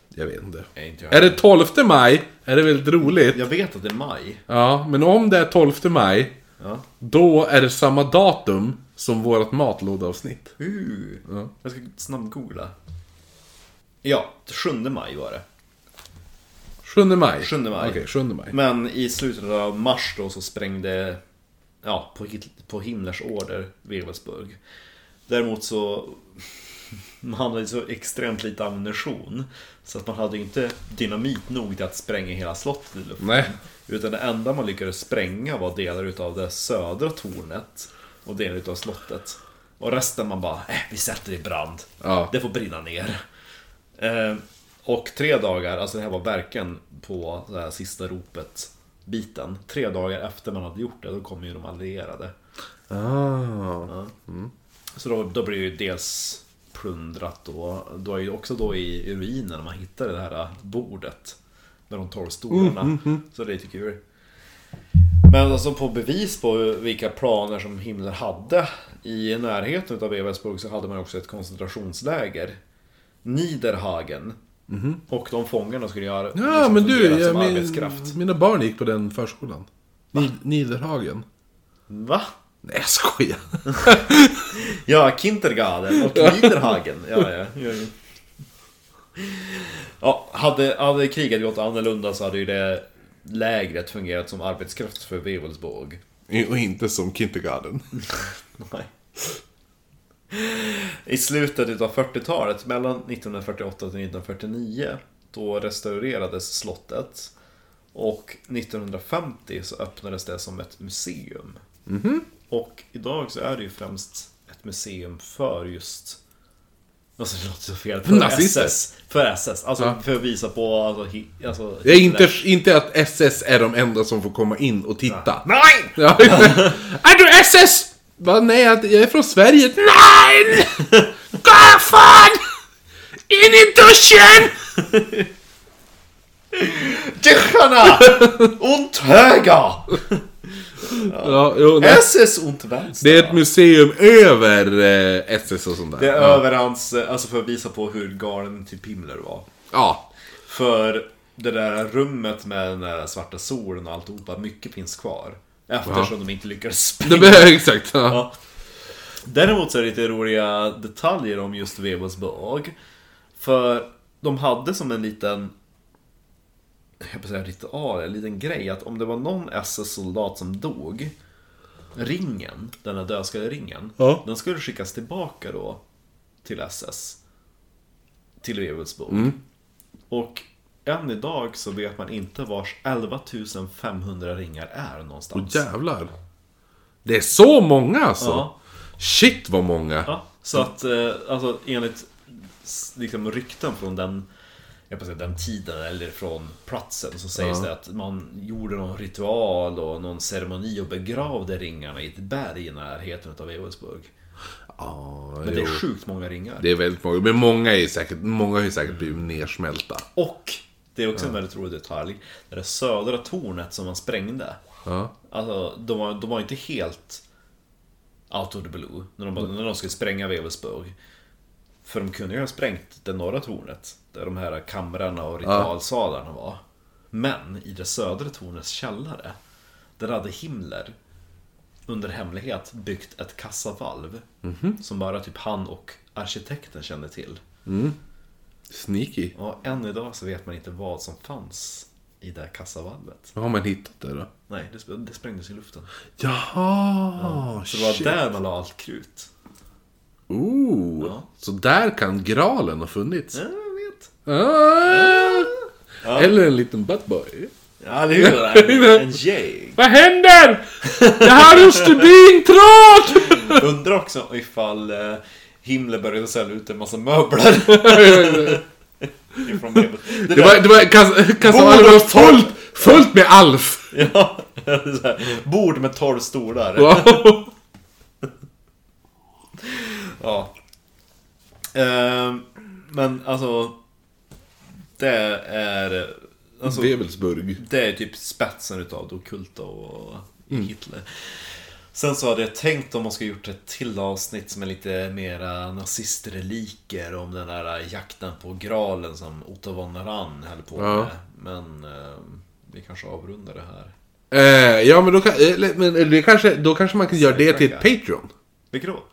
[SPEAKER 1] Jag vet inte.
[SPEAKER 2] Nej, inte jag.
[SPEAKER 1] Är det 12 maj? Är det väldigt roligt?
[SPEAKER 2] Jag vet att det är maj.
[SPEAKER 1] Ja, men om det är 12 maj
[SPEAKER 2] Ja.
[SPEAKER 1] Då är det samma datum som vårt matlådeavsnitt.
[SPEAKER 2] Uh. Jag ska snabbgoogla. Ja, 7 maj var det.
[SPEAKER 1] 7 maj.
[SPEAKER 2] 7 maj.
[SPEAKER 1] Okej, 7 maj.
[SPEAKER 2] Men i slutet av mars då så sprängde, ja, på, Hitl- på Himmlers order, Wewelsburg. Däremot så, [LAUGHS] man hade ju så extremt lite ammunition. Så att man hade ju inte dynamit nog till att spränga hela slottet i luften.
[SPEAKER 1] Nej.
[SPEAKER 2] [LAUGHS] Utan det enda man lyckades spränga var delar utav det södra tornet och delar utav slottet. Och resten man bara, eh, vi sätter i brand.
[SPEAKER 1] Ja.
[SPEAKER 2] Det får brinna ner. Eh, och tre dagar, alltså det här var verkligen på det här sista ropet biten. Tre dagar efter man hade gjort det, då kom ju de allierade.
[SPEAKER 1] Ah.
[SPEAKER 2] Så då, då blir det ju dels plundrat och då är ju också då i ruinerna man hittar det här bordet med de tolv stolarna.
[SPEAKER 1] Mm,
[SPEAKER 2] Så det är lite kul. Men alltså på bevis på vilka planer som Himmler hade i närheten av Eversburg så hade man också ett koncentrationsläger. Niederhagen. Och de fångarna skulle göra
[SPEAKER 1] Mhm. Ja, men du,
[SPEAKER 2] fungera
[SPEAKER 1] jag,
[SPEAKER 2] som
[SPEAKER 1] min,
[SPEAKER 2] arbetskraft.
[SPEAKER 1] mina barn gick på den förskolan. Ni, Niederhagen.
[SPEAKER 2] Va?
[SPEAKER 1] Nej, jag skojar.
[SPEAKER 2] Ja, Kindergarten och Niederhagen. Ja, ja, ja, ja. ja hade, hade kriget gått annorlunda så hade ju det lägret fungerat som arbetskraft för Wewelsburg.
[SPEAKER 1] [LAUGHS] Och inte som Kindergarten.
[SPEAKER 2] Nej. I slutet av 40-talet, mellan 1948 till 1949, då restaurerades slottet. Och 1950 så öppnades det som ett museum.
[SPEAKER 1] Mhm.
[SPEAKER 2] Och idag så är det ju främst ett museum för just Alltså det låter så fel. För
[SPEAKER 1] Nazister.
[SPEAKER 2] SS. För SS. Alltså
[SPEAKER 1] Ja.
[SPEAKER 2] för att visa på alltså, hi, alltså,
[SPEAKER 1] Det är inte, inte att SS är de enda som får komma in och titta.
[SPEAKER 2] Nej!
[SPEAKER 1] Ja. [LAUGHS] är du SS? Va, nej, jag jag är från Sverige. Nej! [LAUGHS] Gå fan! In i duschen!
[SPEAKER 2] Tschecharna!
[SPEAKER 1] [LAUGHS]
[SPEAKER 2] Und höger!
[SPEAKER 1] Ja, jo, nej.
[SPEAKER 2] SS und vänster!
[SPEAKER 1] Det är ett museum över eh, SS och sånt där.
[SPEAKER 2] Det är
[SPEAKER 1] ja.
[SPEAKER 2] över hans, alltså för att visa på hur galen typ Himmler var.
[SPEAKER 1] ja.
[SPEAKER 2] För det där rummet med den där svarta solen och alltihopa, mycket finns kvar. Eftersom de inte lyckades
[SPEAKER 1] Det
[SPEAKER 2] springa.
[SPEAKER 1] behöver exakt. Ja.
[SPEAKER 2] Ja. Däremot så är det lite roliga detaljer om just Vebelsberg. För de hade som en liten jag höll på att säga ritual, en liten grej att om det var någon SS-soldat som dog Ringen, den här dödskalleringen,
[SPEAKER 1] Ja.
[SPEAKER 2] den skulle skickas tillbaka då till SS. Till Wevelsburg. Och än idag så vet man inte vars 11 500 ringar är någonstans.
[SPEAKER 1] Jävlar. Det är så många alltså.
[SPEAKER 2] Ja.
[SPEAKER 1] Shit vad många.
[SPEAKER 2] Ja, så att eh, alltså, enligt s- liksom, rykten från den, jag får säga, den tiden eller från platsen så sägs det att man gjorde någon ritual och någon ceremoni och begravde ringarna i ett berg i närheten av Eosburg.
[SPEAKER 1] Ja,
[SPEAKER 2] Men det
[SPEAKER 1] jo.
[SPEAKER 2] är sjukt många ringar.
[SPEAKER 1] det är väldigt många. Men många, är säkert, många har ju säkert blivit nersmälta.
[SPEAKER 2] Och det är också en väldigt rolig detalj. Det där södra tornet som man sprängde.
[SPEAKER 1] Ja.
[SPEAKER 2] Alltså, de var, de var inte helt out of the blue när de, när de skulle spränga Wevelsburg. För de kunde ju ha sprängt det norra tornet, där de här kamrarna och ritualsalarna var. Men i det södra tornets källare, där hade Himmler under hemlighet byggt ett kassavalv som bara typ han och arkitekten kände till.
[SPEAKER 1] Sneaky.
[SPEAKER 2] Och än idag så vet man inte vad som fanns i det här kassavalvet.
[SPEAKER 1] Har man hittat det då?
[SPEAKER 2] Nej, det, sp- det sprängdes i luften.
[SPEAKER 1] Jaha!
[SPEAKER 2] Så det var
[SPEAKER 1] shit.
[SPEAKER 2] där man la allt krut.
[SPEAKER 1] Ooh.
[SPEAKER 2] Ja.
[SPEAKER 1] Så där kan Gralen ha funnits.
[SPEAKER 2] Ja, jag vet.
[SPEAKER 1] Ah. Eller en liten buttboy.
[SPEAKER 2] Ja, det är ju [LAUGHS] det. En jäg.
[SPEAKER 1] Vad händer? Jag har en stubintråd!
[SPEAKER 2] Undrar också ifall eh, Himmler började sälja ut en massa möbler. [LAUGHS] Ifrån Bibeln. det
[SPEAKER 1] Det var, det var kas- kassavalvet var fullt, fullt med Alf.
[SPEAKER 2] [LAUGHS] Ja, det är så här, bord med tolv stolar.
[SPEAKER 1] Wow.
[SPEAKER 2] Ja. Ehm, men alltså... Det är... Alltså,
[SPEAKER 1] Webelsburg.
[SPEAKER 2] Det är typ spetsen utav det ockulta och
[SPEAKER 1] Mm.
[SPEAKER 2] Hitler. Sen så hade jag tänkt om man skulle gjort ett till avsnitt som är lite mera nazistreliker om den där jakten på Gralen som Otto von Rann höll på
[SPEAKER 1] Ja.
[SPEAKER 2] med. Men eh, vi kanske avrundar det här.
[SPEAKER 1] Eh, ja, men, då, kan, eller, men eller, det kanske, då kanske man kan göra det till ett Patreon.
[SPEAKER 2] Vilket då?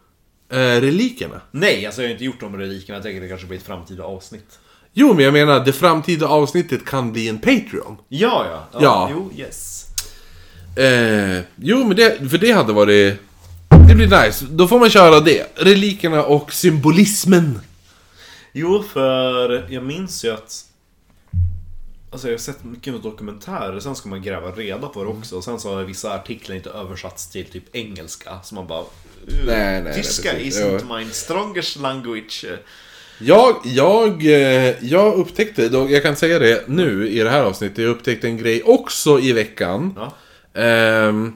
[SPEAKER 1] Eh, relikerna.
[SPEAKER 2] Nej, alltså jag har inte gjort de relikerna. Jag tänker att det kanske blir ett framtida avsnitt.
[SPEAKER 1] Jo, men jag menar, det framtida avsnittet kan bli en Patreon.
[SPEAKER 2] Ja, ja. Ja.
[SPEAKER 1] Ja.
[SPEAKER 2] Jo, yes.
[SPEAKER 1] Eh, jo, men det, för det hade varit... Det blir nice. Då får man köra det. Relikerna och symbolismen.
[SPEAKER 2] Jo, för jag minns ju att Alltså jag har sett mycket dokumentärer, sen ska man gräva reda på det
[SPEAKER 1] Mm.
[SPEAKER 2] också. Och sen så har vissa artiklar inte översatts till typ engelska. Så man bara... "Uh,
[SPEAKER 1] Nej, nej,
[SPEAKER 2] Tyska
[SPEAKER 1] nej, precis.
[SPEAKER 2] isn't
[SPEAKER 1] Ja.
[SPEAKER 2] my strongest language.
[SPEAKER 1] Jag, jag, eh, jag upptäckte, då- jag kan säga det nu i det här avsnittet, jag upptäckte en grej också i veckan.
[SPEAKER 2] Ja. [LAUGHS]
[SPEAKER 1] ehm,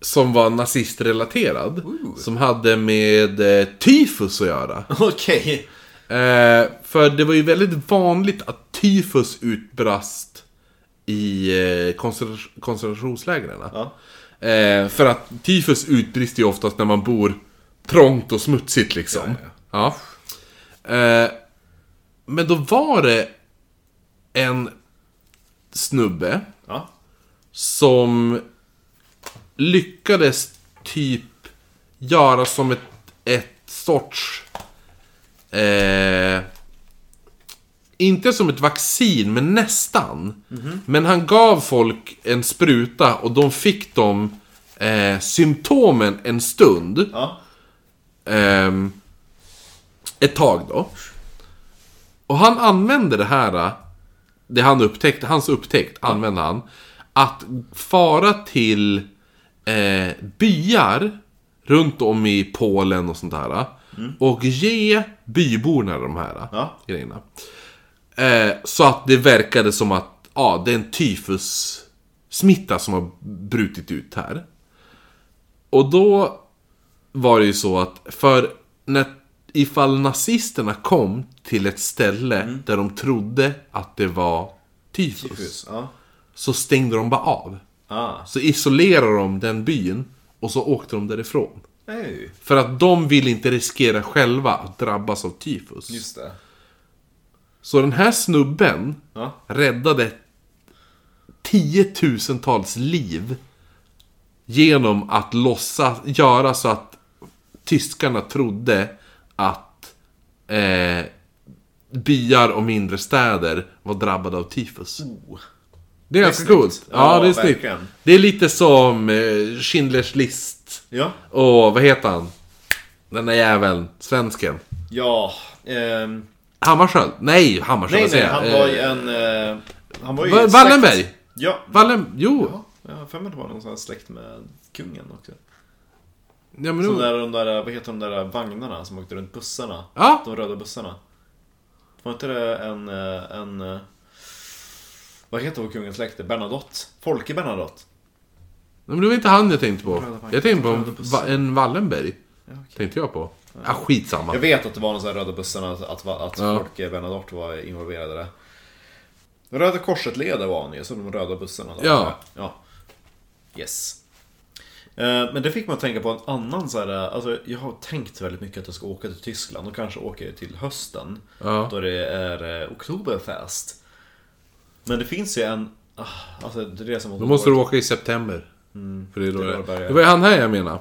[SPEAKER 1] som var nazistrelaterad. Som hade med eh, tyfus att göra.
[SPEAKER 2] Okej.
[SPEAKER 1] Eh, för det var ju väldigt vanligt att tyfus utbrast i eh, koncentra- koncentrationslägren.
[SPEAKER 2] Ja.
[SPEAKER 1] Eh, för att tyfus utbrister ju oftast när man bor trångt och smutsigt liksom.
[SPEAKER 2] Ja,
[SPEAKER 1] Ja. Eh, men då var det en snubbe
[SPEAKER 2] Ja.
[SPEAKER 1] som lyckades typ göra som ett, ett sorts... Eh, inte som ett vaccin, men nästan. Men han gav folk en spruta och de fick de eh, symptomen en stund.
[SPEAKER 2] Ja.
[SPEAKER 1] Ehm, ett tag då. Och han använde det här, äh, det han upptäckte, hans upptäckt använde han. Att fara till eh, byar runt om i Polen och sånt där. äh, Och ge byborna de här äh,
[SPEAKER 2] Ja.
[SPEAKER 1] grejerna. Eh, så att det verkade som att ja, det är en tyfussmitta som har brutit ut här. Och då var det ju så att för när, ifall nazisterna kom till ett ställe där de trodde att det var tyfus,
[SPEAKER 2] Mm. Tyfus. Ja.
[SPEAKER 1] så stängde de bara av.
[SPEAKER 2] Ah.
[SPEAKER 1] Så isolerade de den byn och så åkte de därifrån.
[SPEAKER 2] Ej.
[SPEAKER 1] För att de vill inte riskera själva att drabbas av tyfus.
[SPEAKER 2] Just det.
[SPEAKER 1] Så den här snubben
[SPEAKER 2] Ja.
[SPEAKER 1] räddade tiotusentals liv genom att låtsas göra så att tyskarna trodde att eh, byar och mindre städer var drabbade av tyfus.
[SPEAKER 2] Oh.
[SPEAKER 1] Det är ganska
[SPEAKER 2] snyggt.
[SPEAKER 1] coolt. Ja,
[SPEAKER 2] Ja,
[SPEAKER 1] det är snyggt.
[SPEAKER 2] verkligen.
[SPEAKER 1] Det är lite som eh, Schindler's list.
[SPEAKER 2] Ja.
[SPEAKER 1] Och vad heter han? Den där jäveln. Svensken.
[SPEAKER 2] Ja. ehm,
[SPEAKER 1] Hammarskjöld? Nej, Hammarskjöld
[SPEAKER 2] nej, nej,
[SPEAKER 1] säger jag.
[SPEAKER 2] han
[SPEAKER 1] Eh,
[SPEAKER 2] var ju en... Eh, han var ju
[SPEAKER 1] Va-
[SPEAKER 2] släkt-
[SPEAKER 1] Wallenberg?
[SPEAKER 2] Ja.
[SPEAKER 1] Wallen... Eh, Jo.
[SPEAKER 2] Ja, Jag har för mig att det var någon sån här släkt med kungen också.
[SPEAKER 1] Ja, men
[SPEAKER 2] De
[SPEAKER 1] jo.
[SPEAKER 2] där, de där, vad heter de där vagnarna som åkte runt bussarna?
[SPEAKER 1] Ja.
[SPEAKER 2] De röda bussarna. Var inte det en... eh, en eh, vad heter vår kungens släkte? Bernadotte? Folke Bernadotte?
[SPEAKER 1] Nej, men det var inte han jag tänkte på.
[SPEAKER 2] Röda vagn.
[SPEAKER 1] Jag tänkte på en,
[SPEAKER 2] Röda buss.
[SPEAKER 1] va- en Wallenberg.
[SPEAKER 2] Ja, okej.
[SPEAKER 1] Tänkte jag på. Ah, skitsamma.
[SPEAKER 2] Jag vet att det var någon sån här röda bussarna, att, att, att
[SPEAKER 1] Ja.
[SPEAKER 2] Folke Bernadotte var involverad i det. Röda korset-ledare var han ju, så de röda bussarna. då.
[SPEAKER 1] Ja.
[SPEAKER 2] ja. Yes. Eh, Men det fick man att tänka på en annan så här, alltså jag har tänkt väldigt mycket att jag ska åka till Tyskland och kanske åker till hösten.
[SPEAKER 1] Ja.
[SPEAKER 2] Då det är eh, Oktoberfest. Men det finns ju en, ah, alltså det är det som
[SPEAKER 1] Då måste du åka i september. För det, är då
[SPEAKER 2] det är
[SPEAKER 1] det,
[SPEAKER 2] då det börjar.
[SPEAKER 1] det var ju han här jag menade.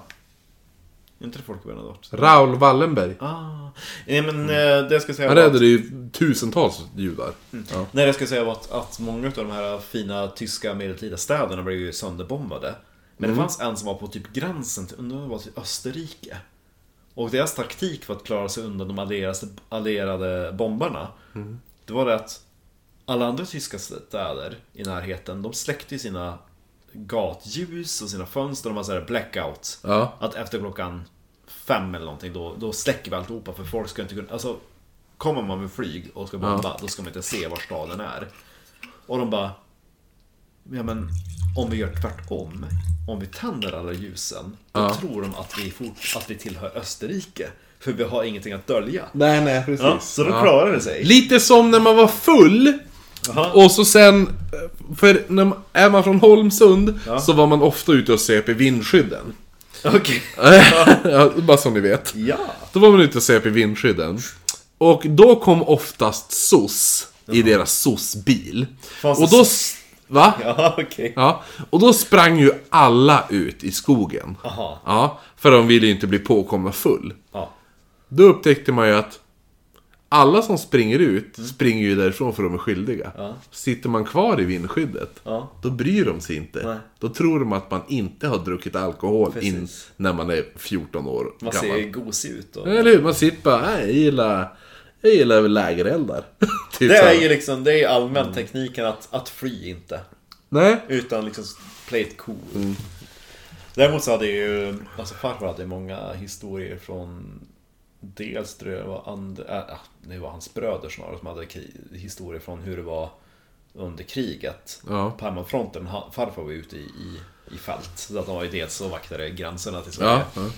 [SPEAKER 2] Inte det Folke Bernadotte?
[SPEAKER 1] Raoul Wallenberg.
[SPEAKER 2] Ah. Nej men
[SPEAKER 1] Mm.
[SPEAKER 2] eh, det jag ska säga
[SPEAKER 1] Han
[SPEAKER 2] var att-
[SPEAKER 1] räddade ju tusentals judar. Ja.
[SPEAKER 2] Nej, det jag ska säga var att, att många av de här fina tyska medeltida städerna blev ju sönderbombade. Men
[SPEAKER 1] Mm.
[SPEAKER 2] det fanns en som var på typ gränsen till, undrar om det var till Österrike. Och deras taktik för att klara sig undan de allierade, allierade bombarna,
[SPEAKER 1] Mm.
[SPEAKER 2] det var det att alla andra tyska städer i närheten, de släckte ju sina gatljus och sina fönster, de var såhär blackout.
[SPEAKER 1] Ja.
[SPEAKER 2] Att efter klockan fem eller någonting, då, då släcker vi alltihopa för folk ska inte kunna... Alltså, kommer man med flyg och ska bomba, då ska man inte se var staden är. Och de bara... Ja men, om vi gör tvärtom. Om vi tänder alla ljusen, då tror de att vi, fort, att vi tillhör Österrike. För vi har ingenting att dölja.
[SPEAKER 1] Nej, nej, precis.
[SPEAKER 2] Ja, så då klarar det [LAUGHS] sig.
[SPEAKER 1] Lite som när man var full.
[SPEAKER 2] Jaha.
[SPEAKER 1] Och så sen, för när man, är man från Holmsund
[SPEAKER 2] Ja.
[SPEAKER 1] så var man ofta ute och söp i vindskydden.
[SPEAKER 2] Okej.
[SPEAKER 1] [LAUGHS] Ja, Bara som ni vet.
[SPEAKER 2] Ja.
[SPEAKER 1] Då var man ute och söp i vindskydden. Och då kom oftast SOS i deras SOS-bil.
[SPEAKER 2] Fanns
[SPEAKER 1] Och
[SPEAKER 2] det
[SPEAKER 1] då... s- Va?
[SPEAKER 2] Ja, okej.
[SPEAKER 1] Ja, och då sprang ju alla ut i skogen.
[SPEAKER 2] Aha.
[SPEAKER 1] Ja, för de ville ju inte bli påkomna full.
[SPEAKER 2] Ja.
[SPEAKER 1] Då upptäckte man ju att alla som springer ut
[SPEAKER 2] Mm.
[SPEAKER 1] springer ju därifrån för de är skyldiga. Sitter man kvar i vindskyddet,
[SPEAKER 2] Ja.
[SPEAKER 1] då bryr de sig inte.
[SPEAKER 2] Nej.
[SPEAKER 1] Då tror de att man inte har druckit alkohol in
[SPEAKER 2] Precis.
[SPEAKER 1] när man är 14 år
[SPEAKER 2] Man ser
[SPEAKER 1] gammal.
[SPEAKER 2] ju gosig ut då.
[SPEAKER 1] Eller hur? Man sitter bara, "Nej, jag gillar, jag gillar lägereldar. [LAUGHS] typ
[SPEAKER 2] Det
[SPEAKER 1] så här.
[SPEAKER 2] är ju liksom, det är ju allmän tekniken att, att fly inte.
[SPEAKER 1] Nej,
[SPEAKER 2] Utan liksom play it cool.
[SPEAKER 1] Mm.
[SPEAKER 2] Däremot så hade ju, alltså farfar hade ju många historier från Dels tror jag det var, and, äh, äh, det var hans bröder snarare som hade kri- historier från hur det var under kriget.
[SPEAKER 1] Ja.
[SPEAKER 2] Parmafronten, han- farfar var ju ute i, i, i fält. Så att han var ju dels och vaktade gränserna till Sverige.
[SPEAKER 1] ja, ja.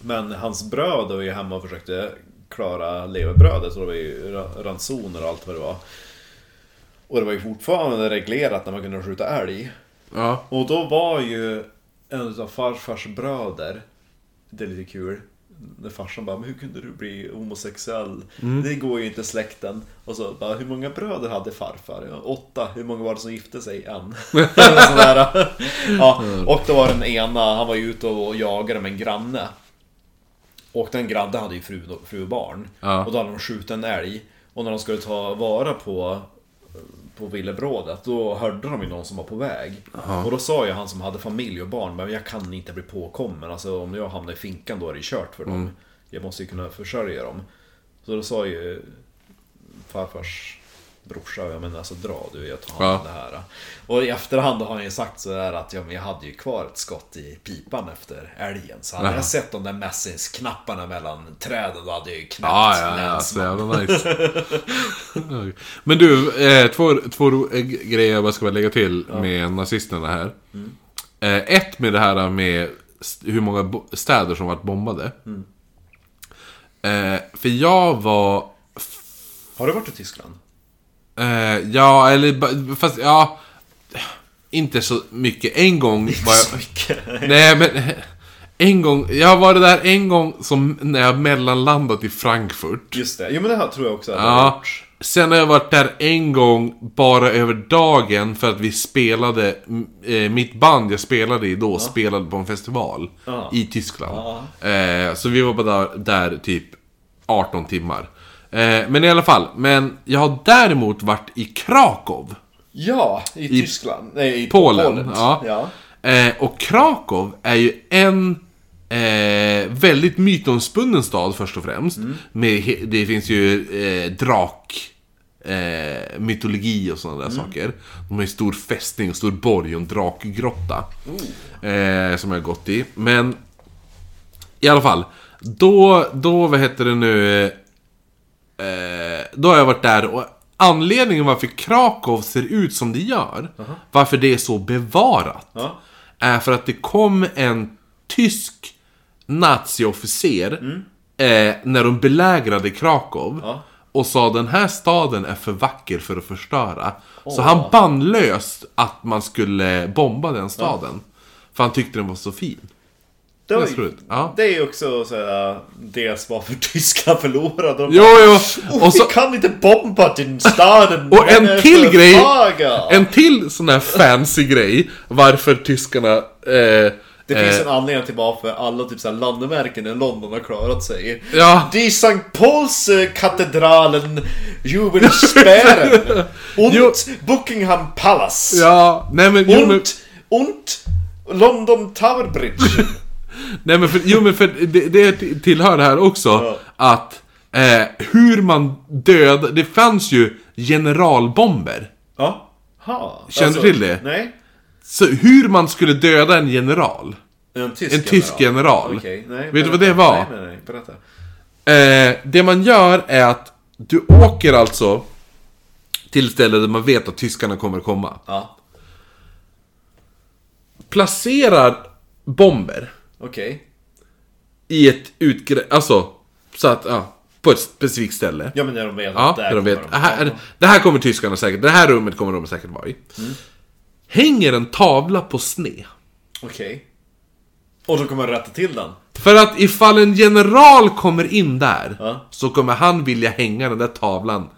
[SPEAKER 2] Men hans bröder var ju hemma och försökte klara leverbrödet och det var ju ra- ransoner och allt vad det var. Och det var ju fortfarande reglerat när man kunde skjuta älg.
[SPEAKER 1] ja.
[SPEAKER 2] Och då var ju en av farfars bröder, det är lite kul, när farsan bara, men hur kunde du bli homosexuell? Det går ju inte släkten. Och så bara, hur många bröder hade farfar? Ja, åtta, hur många var det som gifte sig? En. Eller sån där. ja, och då var den ena, han var ju ute och jagade med en granne. Och den grannen hade ju fru, fru och barn.
[SPEAKER 1] Ja.
[SPEAKER 2] Och då hade de skjutit en älg. Och när de skulle ta vara på på villebrådet, då hörde de ju någon som var på väg. Och då sa ju han som hade familj och barn, men jag kan inte bli påkommen. Alltså om jag hamnar i finkan då är det kört för dem.
[SPEAKER 1] Mm.
[SPEAKER 2] Jag måste ju kunna försörja dem. Så då sa ju farfars brorsa, jag menar alltså dra du, jag tar hand om
[SPEAKER 1] Ja.
[SPEAKER 2] det här. Och i efterhand har han ju sagt sådär att ja, men jag hade ju kvar ett skott i pipan efter älgen. Så hade jag sett de där mässingsknapparna mellan träden, då hade jag ju knäppt
[SPEAKER 1] Ja, ja, ja, så
[SPEAKER 2] näsan.
[SPEAKER 1] jävla nice. [LAUGHS] Men du, eh, två, två ro- eh, grejer jag bara ska lägga till med nazisterna här. Eh, ett med det här med st- hur många bo- städer som varit bombade. Eh, för jag var...
[SPEAKER 2] Har du varit i Tyskland?
[SPEAKER 1] Eh, ja, eller ba- fast ja... Inte så mycket. En gång var jag...
[SPEAKER 2] [LAUGHS] Så mycket.
[SPEAKER 1] [LAUGHS] Nej men... En gång, jag har varit där en gång som när jag mellanlandat i Frankfurt.
[SPEAKER 2] Just det, jo men det här tror jag också att jag
[SPEAKER 1] Ja,
[SPEAKER 2] har gjort.
[SPEAKER 1] Sen har jag varit där en gång bara över dagen för att vi spelade, m- eh, mitt band jag spelade i då spelade på en festival
[SPEAKER 2] Ja.
[SPEAKER 1] i Tyskland. Eh, så vi var bara där, där typ 18 timmar. Eh, men i alla fall, men jag har däremot varit i Krakow.
[SPEAKER 2] Ja, i, Tyskland. Nej, i
[SPEAKER 1] Polen. Ja.
[SPEAKER 2] Ja. ja.
[SPEAKER 1] Eh, och Krakow är ju en eh, väldigt mytomspunnen stad först och främst.
[SPEAKER 2] Mm.
[SPEAKER 1] Med, he- det finns ju eh, drak... Eh, mytologi och sådana
[SPEAKER 2] Mm.
[SPEAKER 1] där saker. De har ju stor fästning och stor borg och en drakgrotta. Eh, som jag har gått i. Men i alla fall. Då, då vad heter det nu? Eh, då har jag varit där och anledningen varför Krakow ser ut som det gör, varför det är så bevarat,
[SPEAKER 2] Ja.
[SPEAKER 1] är för att det kom en tysk naziofficer eh, när de belägrade Krakow
[SPEAKER 2] Mm. Ja.
[SPEAKER 1] och sa den här staden är för vacker för att förstöra. Så han bannlöst att man skulle bomba den staden. För han tyckte den var så fin.
[SPEAKER 2] Det,
[SPEAKER 1] Jag tror
[SPEAKER 2] var,
[SPEAKER 1] det. Ja.
[SPEAKER 2] det är ju också såhär, dels varför [LAUGHS] Tyskland förlorade. De
[SPEAKER 1] Jo, jo!
[SPEAKER 2] bara, "Oh,
[SPEAKER 1] Och så,
[SPEAKER 2] Vi kan inte bomba din staden!
[SPEAKER 1] [LAUGHS] Och en
[SPEAKER 2] den är
[SPEAKER 1] till
[SPEAKER 2] för
[SPEAKER 1] grej!
[SPEAKER 2] fager."
[SPEAKER 1] En till sån här fancy grej varför tyskarna... Eh,
[SPEAKER 2] Det
[SPEAKER 1] eh,
[SPEAKER 2] finns en anledning till varför alla typ såhär landmärken i London har klarat sig.
[SPEAKER 1] Ja.
[SPEAKER 2] Det är Sankt Pauls eh, katedralen Jubelspären.
[SPEAKER 1] [LAUGHS]
[SPEAKER 2] Und
[SPEAKER 1] Jo.
[SPEAKER 2] Buckingham Palace.
[SPEAKER 1] Ja, nej men... Jo,
[SPEAKER 2] Und,
[SPEAKER 1] men,
[SPEAKER 2] und London Tower
[SPEAKER 1] [LAUGHS]
[SPEAKER 2] Bridge.
[SPEAKER 1] nej, men, för, jo, men för det, det till- tillhör det här också. Att eh, hur man död Det fanns ju generalbomber.
[SPEAKER 2] ja. Ha. alltså,
[SPEAKER 1] Känner du till det?
[SPEAKER 2] Nej.
[SPEAKER 1] Så hur man skulle döda en general.
[SPEAKER 2] En tysk
[SPEAKER 1] En tysk general.
[SPEAKER 2] Okej, nej,
[SPEAKER 1] Vet du vad
[SPEAKER 2] berätta.
[SPEAKER 1] det var?
[SPEAKER 2] Nej, nej, nej, berätta.
[SPEAKER 1] Eh, det man gör är att du åker alltså till stället där man vet att tyskarna kommer att komma.
[SPEAKER 2] Ja,
[SPEAKER 1] Placerar bomber.
[SPEAKER 2] okej.
[SPEAKER 1] i ett utgräv... Alltså, så att, ja, på ett specifikt ställe.
[SPEAKER 2] Ja, men när de vet
[SPEAKER 1] Ja,
[SPEAKER 2] att där
[SPEAKER 1] där de vet.
[SPEAKER 2] kommer
[SPEAKER 1] Det här, det här kommer tyskarna säkert, det här rummet kommer de säkert vara i.
[SPEAKER 2] Mm.
[SPEAKER 1] Hänger en tavla på sne.
[SPEAKER 2] Okej. Och då kommer de rätta till den.
[SPEAKER 1] För att ifall en general kommer in där,
[SPEAKER 2] Ja.
[SPEAKER 1] så kommer han vilja hänga den där tavlan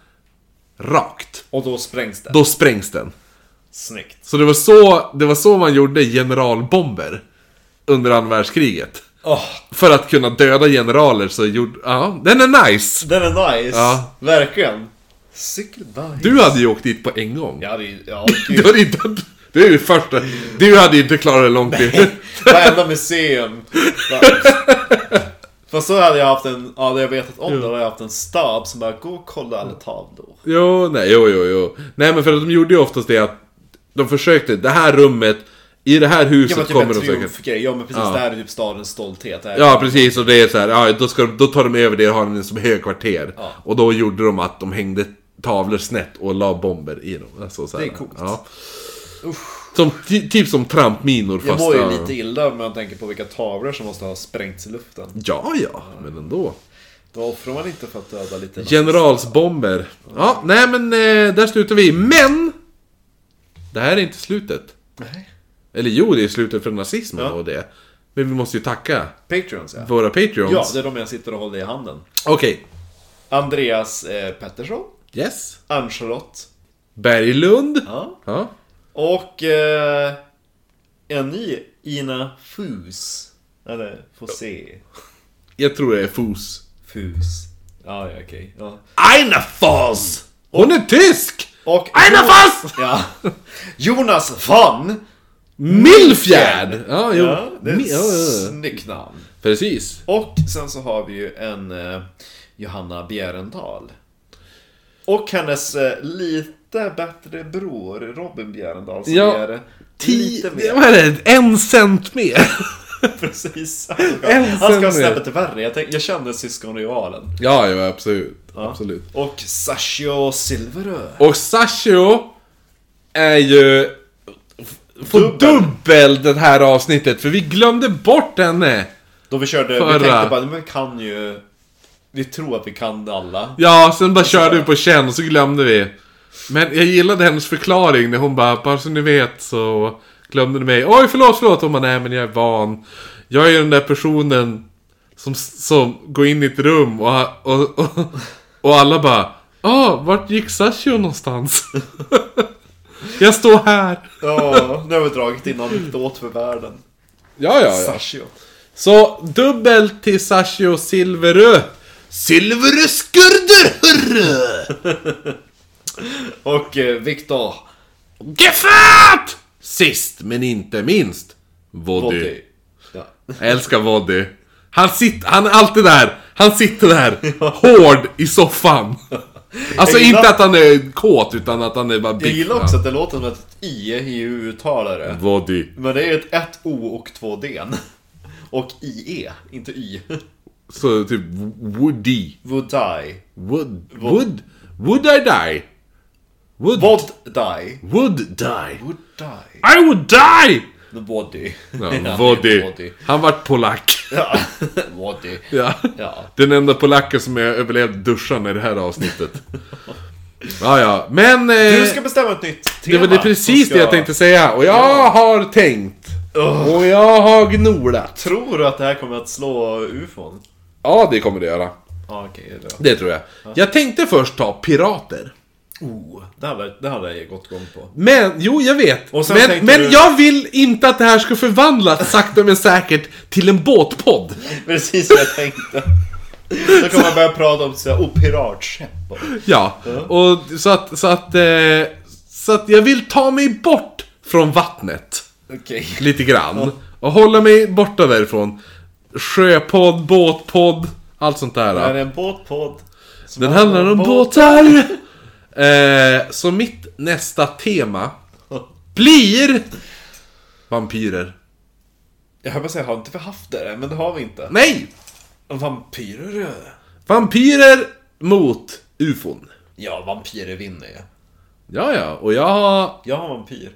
[SPEAKER 1] rakt.
[SPEAKER 2] Och då sprängs den.
[SPEAKER 1] Då sprängs den.
[SPEAKER 2] Snyggt.
[SPEAKER 1] Så det var så, det var så man gjorde generalbomber under andra världskriget.
[SPEAKER 2] Åh,
[SPEAKER 1] För att kunna döda generaler så gjorde... Ja, den är nice!
[SPEAKER 2] den är nice.
[SPEAKER 1] Ja.
[SPEAKER 2] Verkligen. Cykelbajs.
[SPEAKER 1] Du hade ju åkt dit på en gång.
[SPEAKER 2] Ja, det är
[SPEAKER 1] [LAUGHS]
[SPEAKER 2] ja,
[SPEAKER 1] Du
[SPEAKER 2] gud.
[SPEAKER 1] hade inte... Det är ju första... Du hade inte klarat det långt in.
[SPEAKER 2] Varenda museum. Va- Fast så hade jag haft en, ja, hade jag vetat om det, då hade jag haft en stab som bara, gå och kolla alla tavlor.
[SPEAKER 1] Jo, nej, jo, jo, jo. Nej, men för att de gjorde ju oftast det att... De försökte, det här rummet, i det här
[SPEAKER 2] Ja
[SPEAKER 1] huset
[SPEAKER 2] men typ
[SPEAKER 1] kommer
[SPEAKER 2] en
[SPEAKER 1] de säkert...
[SPEAKER 2] triumfgrej, ja men precis, det här är typ stadens stolthet. Det här är-
[SPEAKER 1] Ja, precis. Och det är så här, ja, då, ska, de- då tar de över det och har den som högkvarter. Och då gjorde de att de hängde tavlor snett och la bomber i dem. Alltså, så här,
[SPEAKER 2] Det är coolt.
[SPEAKER 1] Ja. Som, ty- typ som trampminor fast...
[SPEAKER 2] Jag mår
[SPEAKER 1] ja.
[SPEAKER 2] ju lite illa om jag tänker på vilka tavlor som måste ha sprängts i luften.
[SPEAKER 1] Ja, ja, men ändå.
[SPEAKER 2] Då offrar man inte för att döda lite
[SPEAKER 1] Generalsbomber. Ja, nej men eh, där slutar vi. Men! Det här är inte slutet.
[SPEAKER 2] Nej.
[SPEAKER 1] Eller jo, det är slutet för nazismen
[SPEAKER 2] Ja.
[SPEAKER 1] och det. Men vi måste ju tacka
[SPEAKER 2] Patreons ja.
[SPEAKER 1] våra patreons.
[SPEAKER 2] Ja, det är de jag sitter och håller i handen.
[SPEAKER 1] Okej.
[SPEAKER 2] Andreas eh, Pettersson,
[SPEAKER 1] Yes.
[SPEAKER 2] Ann-Charlotte
[SPEAKER 1] Berglund.
[SPEAKER 2] ja.
[SPEAKER 1] Ja.
[SPEAKER 2] och eh, en ny Ina Fus. Eller Fossé.
[SPEAKER 1] Jag tror det är Fos.
[SPEAKER 2] Fus. Ja, ja okej. Ja.
[SPEAKER 1] Aina Foss! Hon är tysk!
[SPEAKER 2] Och...
[SPEAKER 1] Aina Foss!
[SPEAKER 2] [LAUGHS] Ja. Jonas van!
[SPEAKER 1] Milfjärd! Ja, jo.
[SPEAKER 2] Ja, det är
[SPEAKER 1] Mi- ja,
[SPEAKER 2] ett
[SPEAKER 1] ja.
[SPEAKER 2] snyggt namn.
[SPEAKER 1] Precis.
[SPEAKER 2] Och sen så har vi ju en eh, Johanna Bjerendal. Och hennes eh, lite bättre bror Robin Bjerendal som
[SPEAKER 1] Ja,
[SPEAKER 2] är
[SPEAKER 1] Ti...
[SPEAKER 2] lite mer
[SPEAKER 1] Vad är det? En cent mer. [LAUGHS]
[SPEAKER 2] [LAUGHS] precis.
[SPEAKER 1] En
[SPEAKER 2] Han ska
[SPEAKER 1] sämre.
[SPEAKER 2] ha snäppet värre. Jag, tänk, jag känner syskonidealen.
[SPEAKER 1] ja, ja, absolut. Absolut.
[SPEAKER 2] Och Sashio Silverö.
[SPEAKER 1] Och Sashio är ju... f- Får dubbel.
[SPEAKER 2] Dubbel.
[SPEAKER 1] det här avsnittet, för vi glömde bort henne!
[SPEAKER 2] Då vi körde,
[SPEAKER 1] Förra.
[SPEAKER 2] vi tänkte bara, men vi kan ju... Vi tror att vi kan alla.
[SPEAKER 1] Ja, sen Alltså, bara körde vi på känn och så glömde vi. Men jag gillade hennes förklaring när hon bara, bara så ni vet så glömde ni mig. Oj, förlåt, förlåt! Hon bara, nej men jag är van. Jag är ju den där personen som, som går in i ett rum och, och, och, och alla bara Ah, vart gick Sashio någonstans? [LAUGHS] jag står här.
[SPEAKER 2] Ja, nu har vi dragit in anekdot för världen.
[SPEAKER 1] Ja, ja, ja.
[SPEAKER 2] Sashio.
[SPEAKER 1] Så dubbel till Sashio Silverö. Silverö skurder, hurre!
[SPEAKER 2] Och eh, Viktor.
[SPEAKER 1] Gefat! Sist men inte minst. Voddy.
[SPEAKER 2] Body. Ja.
[SPEAKER 1] Jag älskar Voddy. Han, sitter, han är alltid där. Han sitter där, hård i soffan. Alltså
[SPEAKER 2] Jag gillar-
[SPEAKER 1] inte att han är kåt, utan att han är bara biff.
[SPEAKER 2] Jag gillar också att det låter som ett i i
[SPEAKER 1] Mm.
[SPEAKER 2] uttalare
[SPEAKER 1] Voddy.
[SPEAKER 2] Men det är ett 1 O och 2 D. Och IE, inte Y.
[SPEAKER 1] Så typ Woody.
[SPEAKER 2] Would die.
[SPEAKER 1] Would... Would... Would I die? Would...
[SPEAKER 2] Would die.
[SPEAKER 1] Would die?
[SPEAKER 2] Would die.
[SPEAKER 1] I would die!
[SPEAKER 2] The body. [LAUGHS]
[SPEAKER 1] Ja, Wody.
[SPEAKER 2] Body.
[SPEAKER 1] Han vart polack. [LAUGHS]
[SPEAKER 2] Ja, body.
[SPEAKER 1] Ja.
[SPEAKER 2] Ja.
[SPEAKER 1] Den enda polacken som jag överlevde duschan i det här
[SPEAKER 2] [LAUGHS]
[SPEAKER 1] avsnittet. Ja, ja. Men... Eh,
[SPEAKER 2] Du ska bestämma ett nytt tema.
[SPEAKER 1] det var det precis
[SPEAKER 2] som
[SPEAKER 1] det jag
[SPEAKER 2] ska-
[SPEAKER 1] tänkte säga. Och jag har tänkt.
[SPEAKER 2] Ugh.
[SPEAKER 1] Och jag har gnolat.
[SPEAKER 2] Tror du att det här kommer att slå ufon?
[SPEAKER 1] Ja, det kommer det göra.
[SPEAKER 2] Ja, okej. Okay,
[SPEAKER 1] Det tror jag. Jag tänkte först ta pirater.
[SPEAKER 2] oh, det, hade, det hade jag gått igång på.
[SPEAKER 1] Men, jo jag vet.
[SPEAKER 2] Och sen
[SPEAKER 1] men
[SPEAKER 2] tänkte
[SPEAKER 1] men
[SPEAKER 2] du-
[SPEAKER 1] jag vill inte att det här ska förvandlas sakta men säkert till en båtpodd.
[SPEAKER 2] Precis vad jag tänkte. Då kommer man börja prata om såhär, oh, piratskepp. och-
[SPEAKER 1] Ja, och så att, så att, eh, så att jag vill ta mig bort från vattnet.
[SPEAKER 2] Okej.
[SPEAKER 1] Lite grann. Och hålla mig borta därifrån. Sjöpodd, båtpodd, allt sånt där.
[SPEAKER 2] Det här är en båtpodd. som
[SPEAKER 1] Den handlar om båtar! Eh, så mitt nästa tema blir... Vampyrer.
[SPEAKER 2] Jag höll på att säga, har inte vi haft det? än? Men det har vi inte.
[SPEAKER 1] Nej!
[SPEAKER 2] Vampyrer?
[SPEAKER 1] Vampyrer mot ufon.
[SPEAKER 2] Ja, vampyrer vinner ju.
[SPEAKER 1] Ja, ja, och jag har...
[SPEAKER 2] Jag har en vampyr.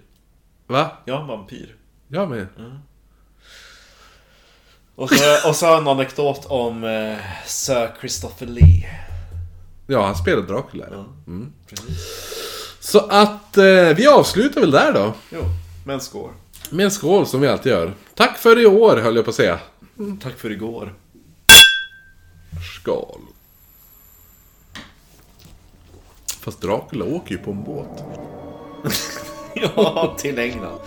[SPEAKER 1] Va?
[SPEAKER 2] Jag har en vampyr.
[SPEAKER 1] Jag med.
[SPEAKER 2] Och så, och så en anekdot om eh, Sir Christopher Lee.
[SPEAKER 1] Ja, han spelar Dracula. Mm.
[SPEAKER 2] Precis.
[SPEAKER 1] Så att eh, vi avslutar väl där då.
[SPEAKER 2] Jo, men skål.
[SPEAKER 1] Med en skål som vi alltid gör. Tack för i år höll jag på att säga.
[SPEAKER 2] Tack för [LAUGHS] igår.
[SPEAKER 1] Skål. Fast Dracula åker ju på en båt.
[SPEAKER 2] ja, till England.